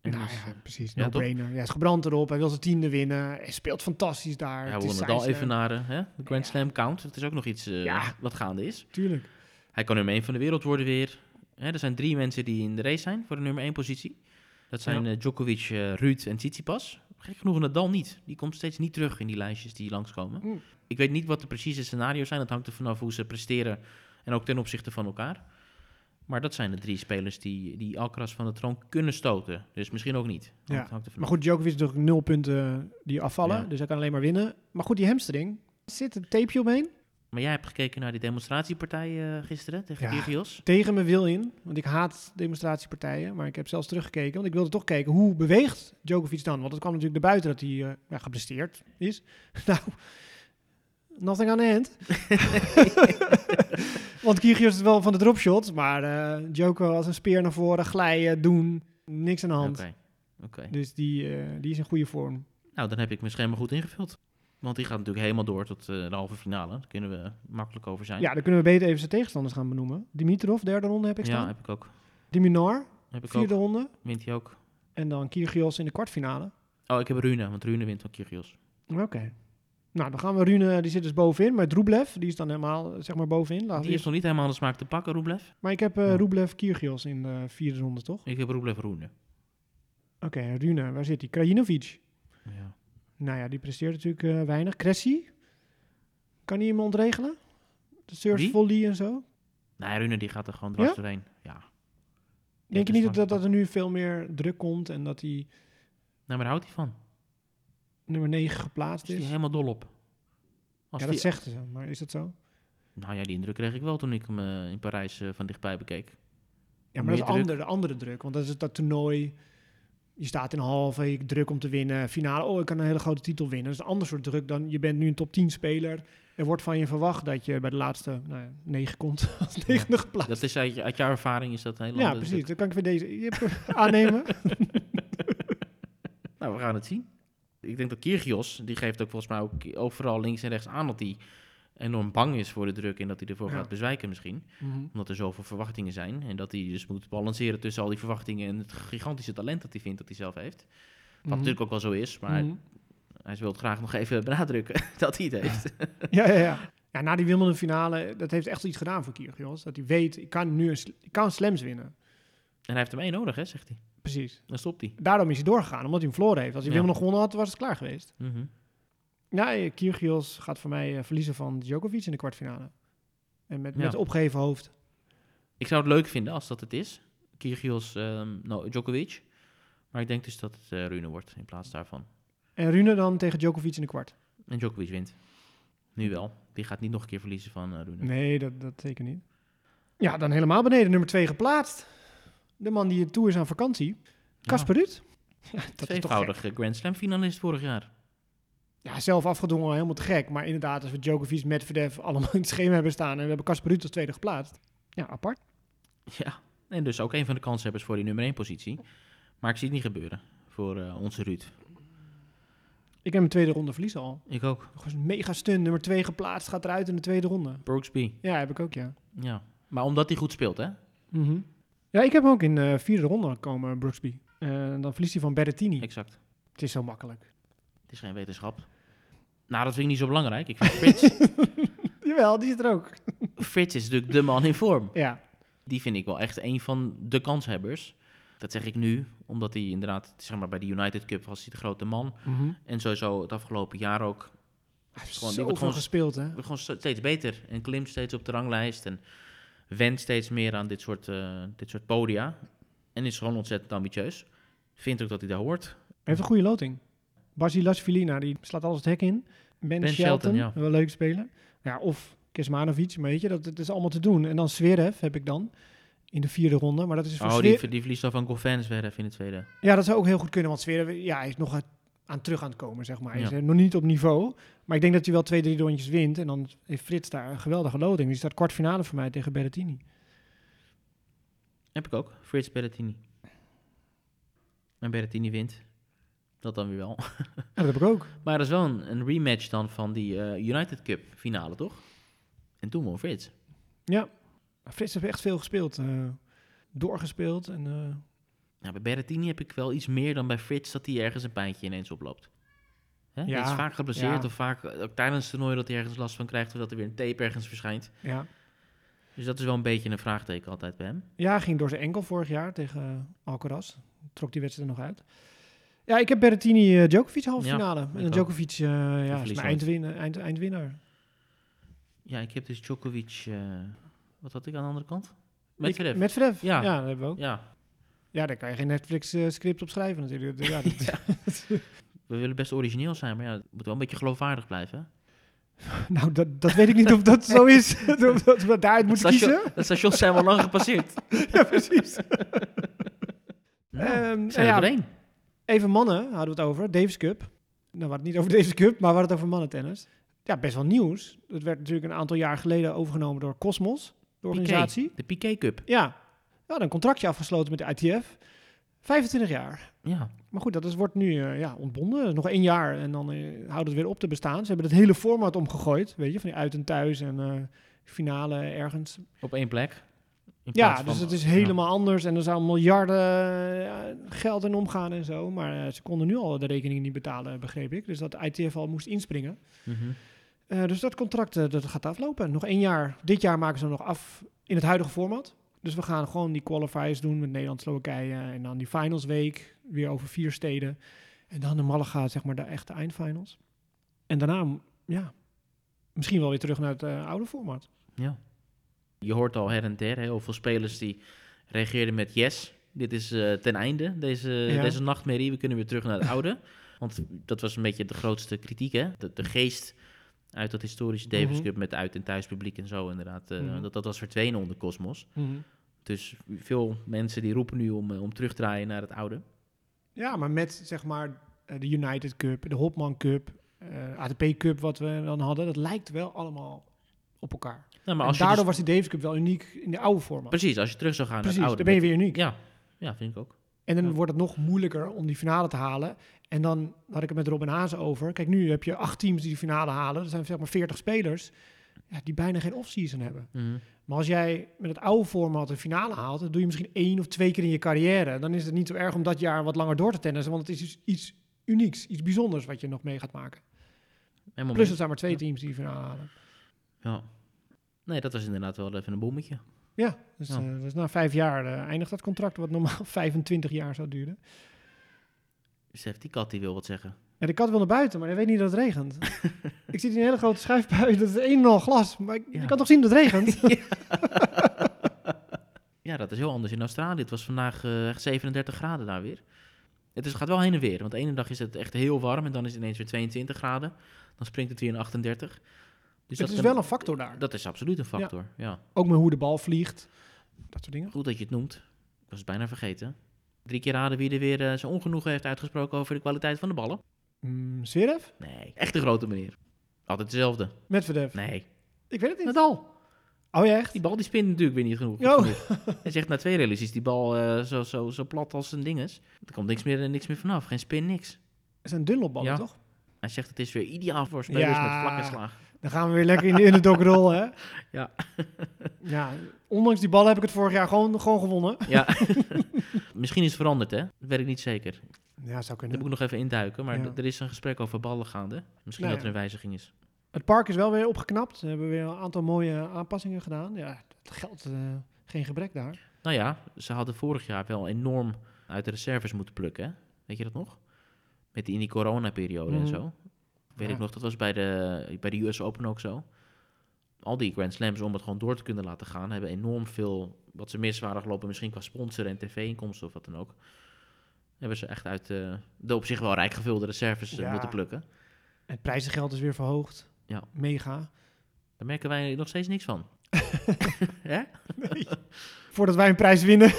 En
Nou
dus,
ja, precies.
ja, toch?
No-brainer. Ja, hij is gebrand erop. Hij wil zijn tiende winnen. Hij speelt fantastisch daar.
hij
Het
wil
is
Nadal
zijn
even naar eh, hè, de Grand Slam count. Dat is ook nog iets eh,
Ja.
wat gaande is.
stem. Tuurlijk.
Hij kan nummer 1 van de wereld worden weer. Hè, er zijn drie mensen die in de race zijn voor de nummer 1 positie. Dat zijn eh, Djokovic, eh, Ruud en Tsitsipas. Gek genoeg Nadal niet. Die komt steeds niet terug in die lijstjes die langskomen.
Mm.
Ik weet niet wat de precieze scenario's zijn. Dat hangt er vanaf hoe ze presteren en ook ten opzichte van elkaar. Maar dat zijn de drie spelers die, die Alcaraz van de troon kunnen stoten. Dus misschien ook niet.
Ja.
Hangt- hangt er vanaf.
Maar goed, Djokovic is natuurlijk nul punten die afvallen.
Ja.
Dus hij kan alleen maar winnen. Maar goed, die hamstring. Er zit een tapeje omheen.
Maar jij hebt gekeken naar die demonstratiepartij eh, gisteren tegen
Ja.
Kyrgios.
Tegen mijn wil in, want ik haat demonstratiepartijen. Maar ik heb zelfs teruggekeken, want ik wilde toch kijken hoe beweegt Djokovic dan. Want het kwam natuurlijk erbuiten dat hij eh, ja, geblesseerd is. nou, nothing aan de hand. want Kyrgios is wel van de dropshot, maar eh Djoko als een speer naar voren, glijden, doen, niks aan de
Oké.
hand.
oké.
Dus die, eh, die is in goede vorm.
Nou, dan heb ik mijn schermen goed ingevuld. Want die gaat natuurlijk helemaal door tot eh, de halve finale. Daar kunnen we makkelijk over zijn.
Ja, dan kunnen we beter even zijn tegenstanders gaan benoemen. Dimitrov, derde ronde heb ik
Ja,
staan.
heb ik ook.
Diminar,
Heb ik
vierde
ook.
ronde.
Wint hij ook.
En dan Kyrgios in de kwartfinale.
Oh, ik heb Rune, want Rune wint van Kyrgios.
Oké. Nou, dan gaan we Rune, die zit dus bovenin. Maar Rublev, die is dan helemaal, eh, zeg maar, bovenin. Laten we
Die is
eerst-
nog niet helemaal aan de smaak te pakken, Rublev.
Maar ik heb eh
Ja.
Rublev, Kyrgios in de vierde ronde, toch?
Ik heb Rublev Rune.
Oké, Rune, waar zit hij? Krajinovic.
Ja.
Nou ja, die presteert natuurlijk eh, weinig. Cressy, kan hij hem ontregelen? De surf
Wie?
volley en zo.
Nee, Rune die gaat er gewoon dwars
Ja?
doorheen. Ja. Nou,
Denk je
dus
niet dat,
dan-
dat, er nu veel meer druk komt en dat hij
Nou, maar daar houdt hij van.
nummer 9 geplaatst
Is hij
is?
helemaal dol op. Als
Dus- ja,
die-
dat zegt ze, maar is dat zo?
Nou ja, die indruk kreeg ik wel toen ik hem eh, in Parijs eh, van dichtbij bekeek.
Ah, Ja, maar dat
Meer
is
druk.
andere, andere druk. Want dat is dat toernooi. Je staat in een halve, je druk om te winnen. Finale, oh, ik kan een hele grote titel winnen. Dat is een ander soort druk dan je bent nu een top 10 speler. Er wordt van je verwacht dat je bij de laatste nou ja, negen komt als negende geplaatst.
Dat is uit, je- uit jouw ervaring is dat eh, een hele
Ja,
andere
precies.
druk.
Dan kan ik weer deze je hebt- aannemen.
Nou, we gaan het zien. Ik denk dat Kyrgios, die geeft ook volgens mij ook overal links en rechts aan dat hij enorm bang is voor de druk en dat hij ervoor
Ja.
gaat bezwijken misschien.
Mhm.
Omdat er zoveel verwachtingen zijn en dat hij dus moet balanceren tussen al die verwachtingen en het gigantische talent dat hij vindt dat hij zelf heeft. Wat natuurlijk ook wel zo is, maar
Mhm.
hij wil het graag nog even benadrukken dat hij het heeft.
Ja, ja, ja. Ja, na die Wimbledon finale, dat heeft echt iets gedaan voor Kyrgios. Dat hij weet, ik kan nu een, sl- ik kan slams winnen.
En hij heeft hem één nodig, hè, zegt hij.
Precies.
Dan stopt hij.
Daarom is hij doorgegaan, omdat hij hem verloren heeft. Als hij
Ja.
Wimbledon gewonnen had, was het klaar geweest.
Mhm.
Ja, eh, Kyrgios gaat voor mij eh, verliezen van Djokovic in de kwartfinale. En met,
Ja.
met opgeheven hoofd.
Ik zou het leuk vinden als dat het is. Kyrgios, ehm nou, Djokovic. Maar ik denk dus dat het eh, Rune wordt in plaats daarvan.
En Rune dan tegen Djokovic in de kwart.
En Djokovic wint. Nu wel. Die gaat niet nog een keer verliezen van eh, Rune.
Nee, dat, dat zeker niet. Ja, dan helemaal beneden. Nummer twee geplaatst. De man die toe is aan vakantie. Casper Ruud. Ja, dat is toch gek.
Tweevoudig eh, Grand Slam finalist vorig jaar.
Ja, zelf afgedwongen, helemaal te gek. Maar inderdaad, als we Djokovic, Medvedev allemaal in het schema hebben staan... en we hebben Casper Ruud als tweede geplaatst. Ja, apart.
Ja. En dus ook een van de kanshebbers voor die nummer 1 positie. Maar ik zie het niet gebeuren voor eh, onze Ruud.
Ik heb mijn tweede ronde verliezen al.
Ik ook.
Nog eens een mega stun. Nummer twee geplaatst, gaat eruit in de tweede ronde.
Brooksby.
Ja, heb ik ook, ja.
Ja. Maar omdat hij goed speelt, hè?
Mhm. Ja, ik heb hem ook in de vierde ronde komen, Brooksby. Eh, dan verliest hij van Berrettini.
Exact.
Het is zo makkelijk.
Het is geen wetenschap. Nou, dat vind ik niet zo belangrijk. Ik vind Frits.
Jawel, die zit er ook.
Frits is natuurlijk de man in vorm.
Ja,
Die vind ik wel echt een van de kanshebbers. Dat zeg ik nu, omdat hij inderdaad, zeg maar bij de United Cup was hij de grote man. En sowieso het afgelopen jaar ook.
hij heeft
Gewoon- die
zoveel
wordt gewoon-
gespeeld, hè?
Wordt Gewoon st- steeds beter. En klimt steeds op de ranglijst. En went steeds meer aan dit soort, eh, dit soort podia. En is gewoon ontzettend ambitieus. Vindt ook dat hij daar hoort.
Hij heeft een goede loting. Basilas Filina, die slaat alles het hek in. Ben,
Ben
Shelton,
Shelton, ja.
wel leuk spelen. Ja, of Kesmanovic, maar weet je, dat, dat is allemaal te doen. En dan Zverev heb ik dan in de vierde ronde. Maar dat is voor
Oh, die,
Zverev-
ver- die verliest al van Goffin Zverev in de tweede.
Ja, dat zou ook heel goed kunnen, want Zverev, ja, hij is nog aan- aan terug aan het komen, zeg maar. Hij is
Ja.
eh, nog niet op niveau, maar ik denk dat hij wel twee, drie rondjes wint. En dan heeft Frits daar een geweldige loting. Dus Die staat kwartfinale voor mij tegen Berrettini.
Heb ik ook. Frits Berrettini. En Berrettini wint. Dat dan weer wel.
Ja, dat heb ik ook.
Maar dat is wel een, een rematch dan van die eh, United Cup finale, toch? En toen won Frits.
Ja, Maar Frits heeft echt veel gespeeld. eh, doorgespeeld en... eh,
Nou, bij Berrettini heb ik wel iets meer dan bij Frits dat hij ergens een pijntje ineens oploopt. Hè?
Ja,
Ja, is vaak geblesseerd
ja.
of vaak eh, ook tijdens het toernooi dat hij ergens last van krijgt of dat er weer een tape ergens verschijnt.
ja.
Dus dat is wel een beetje een vraagteken altijd bij hem.
ja, hij ging door zijn enkel vorig jaar tegen eh, Alcaraz. Trok die wedstrijd er nog uit. Ja, ik heb Berrettini eh, Djokovic halve
Ja,
finale.
ik
en
ook.
Djokovic eh, ja, is
verliest
mijn
nooit.
eindwin- eind, eindwinnaar.
Ja, ik heb dus Djokovic... eh, wat had ik aan de andere kant?
Ik-
Medvedev.
Medvedev, ja.
Ja.
ja, dat hebben we ook.
Ja,
Ja, daar kan je geen Netflix-script op schrijven natuurlijk. Ja, dat-
we willen best origineel zijn, maar ja, het moet wel een beetje geloofwaardig blijven. hè?
Nou, dat, dat weet ik niet of dat zo is. of dat we daaruit moeten
station,
kiezen.
de stations zijn wel lang gepasseerd.
Ja, precies.
Nou,
Ehm,
zijn
ja,
er één.
Even mannen hadden we het over. Davis Cup. Nou, we hadden het niet over Davis Cup, maar we hadden het over mannentennis. Ja, best wel nieuws. Dat werd natuurlijk een aantal jaar geleden overgenomen door Cosmos, de organisatie.
De Piqué Cup.
Ja, ja hadden een contractje afgesloten met de ITF. 25 jaar.
Ja.
Maar goed, dat is, wordt nu eh, ja, ontbonden. Nog één jaar en dan eh, houdt het weer op te bestaan. Ze hebben het hele format omgegooid, weet je, van die uit en thuis en eh, finale ergens.
Op één plek. In
Ja,
plaats
dus
van-
het is
ja.
helemaal anders en er zou miljarden eh, geld in omgaan en zo. Maar eh, ze konden nu al de rekening niet betalen, begreep ik. Dus dat ITF al moest inspringen.
Mhm.
Eh, dus dat contract eh, dat gaat aflopen. Nog één jaar. Dit jaar maken ze hem nog af in het huidige format. Dus we gaan gewoon die qualifiers doen met Nederland, Slowakije. En dan die finals week. Weer over vier steden. En dan de Malaga, zeg maar, de echte eindfinals. En daarna, m- ja, misschien wel weer terug naar het eh, oude format.
Ja. Je hoort al her en der heel veel spelers die reageerden met yes. Dit is eh, ten einde, deze,
Ja.
deze nachtmerrie. We kunnen weer terug naar het oude. Want dat was een beetje de grootste kritiek, hè? De, de geest uit dat historische Davis
Mhm.
Cup met uit- en thuispubliek en zo inderdaad. eh,
Mhm.
dat, dat was verdwenen onder Cosmos. Dus veel mensen die roepen nu om, eh, om terug te draaien naar het oude. Nou,
Ja, maar met, zeg maar, eh, de United Cup, de Hopman Cup, eh, ATP Cup wat we dan hadden. Dat lijkt wel allemaal op elkaar.
Nou, maar
Maar
als je
daardoor
dus-
was die Davis Cup wel uniek in de oude format.
Precies, als je terug zou gaan
Precies,
naar
dan
het oude.
ben je weer uniek.
Ja. ja, vind ik ook.
En dan
Ja.
wordt het nog moeilijker om die finale te halen. En dan had ik het met Robin Haas over. Kijk, nu heb je acht teams die de finale halen. Dat zijn zeg maar 40 spelers ja, die bijna geen off-season hebben.
Mhm.
Maar als jij met het oude format een finale haalt, dan doe je misschien één of twee keer in je carrière. Dan is het niet zo erg om dat jaar wat langer door te tennissen, want het is iets, iets unieks, iets bijzonders wat je nog mee gaat maken.
Helemaal
Plus
mee.
er zijn maar twee teams die de finale halen.
Ja. Nee, dat was inderdaad wel even een bommetje.
Ja, dus,
Ja.
eh, dus na vijf jaar eh, eindigt dat contract, wat normaal 25 jaar zou duren.
Safety Cat die wil wat zeggen.
Ja, de kat wil naar buiten, maar hij weet niet dat het regent. ik zit in een hele grote schuifbui, dat is een en al glas. Maar ik,
Ja.
je kan toch zien dat het regent? Dus
Ja, dat is heel anders in Australië. Het was vandaag eh, echt 37 graden daar weer. Het is, gaat wel heen en weer. Want de ene dag is het echt heel warm en dan is het ineens weer 22 graden. Dan springt het weer in 38. Dus
het is
kan-
wel een factor daar.
Dat is absoluut een factor, ja.
Ook met hoe de bal vliegt, dat soort dingen.
Goed dat je het noemt. Ik was het bijna vergeten. Drie keer raden wie er weer eh, zijn ongenoegen heeft uitgesproken over de kwaliteit van de ballen.
Mm, Zverev?
Nee, echt de grote meneer. Altijd dezelfde.
Medvedev?
Nee,
Ik weet het niet.
Nadal.
Oh ja, echt?
Die bal die spint natuurlijk weer niet genoeg. goed
Oh.
genoeg. Hij zegt na twee rallies is die bal eh, zo, zo, zo plat als een ding is. Er komt niks meer, eh, niks meer vanaf. Geen spin, niks.
Het zijn dunlopballen,
Ja.
toch?
Hij zegt het is weer ideaal voor spelers
Ja.
met vlakke slaag.
Dan gaan we weer lekker in de underdog rol, hè?
Ja.
ja, ondanks die bal heb ik het vorig jaar gewoon, gewoon gewonnen.
Ja. Misschien is het veranderd, hè? Dat weet ik niet zeker. Daar
Ja, zou
moet
kunnen.
ik nog even induiken. Maar
Ja.
d- er is een gesprek over ballen gaande. Misschien
Nou
dat er een wijziging is.
Het park is wel weer opgeknapt. Ze hebben weer een aantal mooie aanpassingen gedaan. Ja, het geldt eh, geen gebrek daar.
Nou ja, ze hadden vorig jaar wel enorm uit de reserves moeten plukken. hè? Weet je dat nog? Met die, in die coronaperiode
Mhm.
en zo. Weet
Ja.
ik nog, dat was bij de, bij de US Open ook zo. Al die Grand Slams, om het gewoon door te kunnen laten gaan, hebben enorm veel, wat ze mis waren gelopen, misschien qua sponsor en tv-inkomsten of wat dan ook. Hebben ze echt uit eh, de op zich wel rijk gevulde reserves eh,
Ja.
moeten plukken.
Het prijzengeld is weer verhoogd.
Ja.
Mega.
Daar merken wij nog steeds niks van. Hè?
Voordat wij een prijs winnen.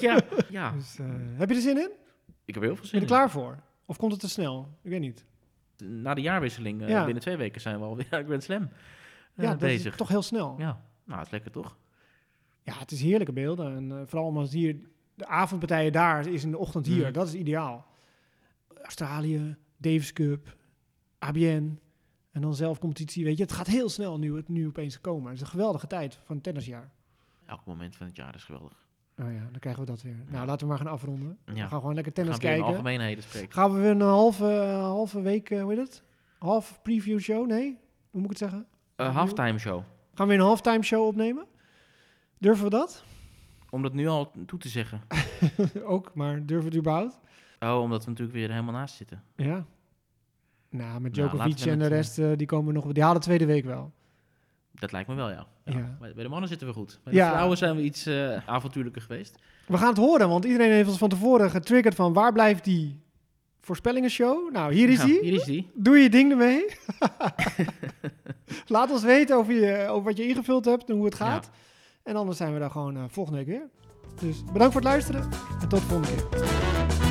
ja, ja,
Dus, eh, heb je er zin in? Ben
ik heb er heel veel
je
zin
er
in.
klaar voor? Of komt het te snel? Ik weet niet.
na de jaarwisseling, eh,
Ja.
binnen twee weken, zijn we alweer aan Grand Slam eh,
Ja, dat
bezig.
is toch heel snel. Ja,
Ja, nou, dat is lekker toch?
het is heerlijke beelden. En eh, vooral omdat hier de avondpartijen daar is in de ochtend hier.
Mhm.
Dat is ideaal. Australië, Davis Cup, ABN. En dan zelf competitie. Weet je, het gaat heel snel nu het nu opeens komen. Het is een geweldige tijd van het tennisjaar.
Elk moment van het jaar is geweldig.
Nou ja, dan krijgen we dat weer. Nou, laten we maar gaan afronden.
Ja.
We gaan gewoon lekker
We
tennis
gaan weer in
kijken.
algemeenheden spreken.
Gaan we weer een halve, halve week, eh, hoe heet het? Half preview show? Nee? Hoe moet ik het zeggen?
Eh halftime show.
Gaan we een halftime show opnemen? Durven we dat?
Om dat nu al toe te zeggen.
Ook, maar durven we het überhaupt?
Oh, omdat we natuurlijk weer helemaal naast zitten.
Ja. Nou, met
Nou,
Djokovic
laten we
en de
het, eh,
rest, eh, die komen nog... Die halen de tweede week wel.
Dat lijkt me wel, ja. ja.
Ja.
Bij bij de mannen zitten we goed. Bij de
Ja.
vrouwen zijn we iets eh, avontuurlijker geweest.
We gaan het horen, want iedereen heeft ons van tevoren getriggerd van... waar blijft die voorspellingenshow. Nou, hier is
Nou,
hij.
Hier is die.
Doe je ding ermee. Laat ons weten over, je, over wat je ingevuld hebt en hoe het gaat.
Ja.
En anders zijn we daar gewoon eh, volgende week weer. Dus bedankt voor het luisteren en tot de volgende keer.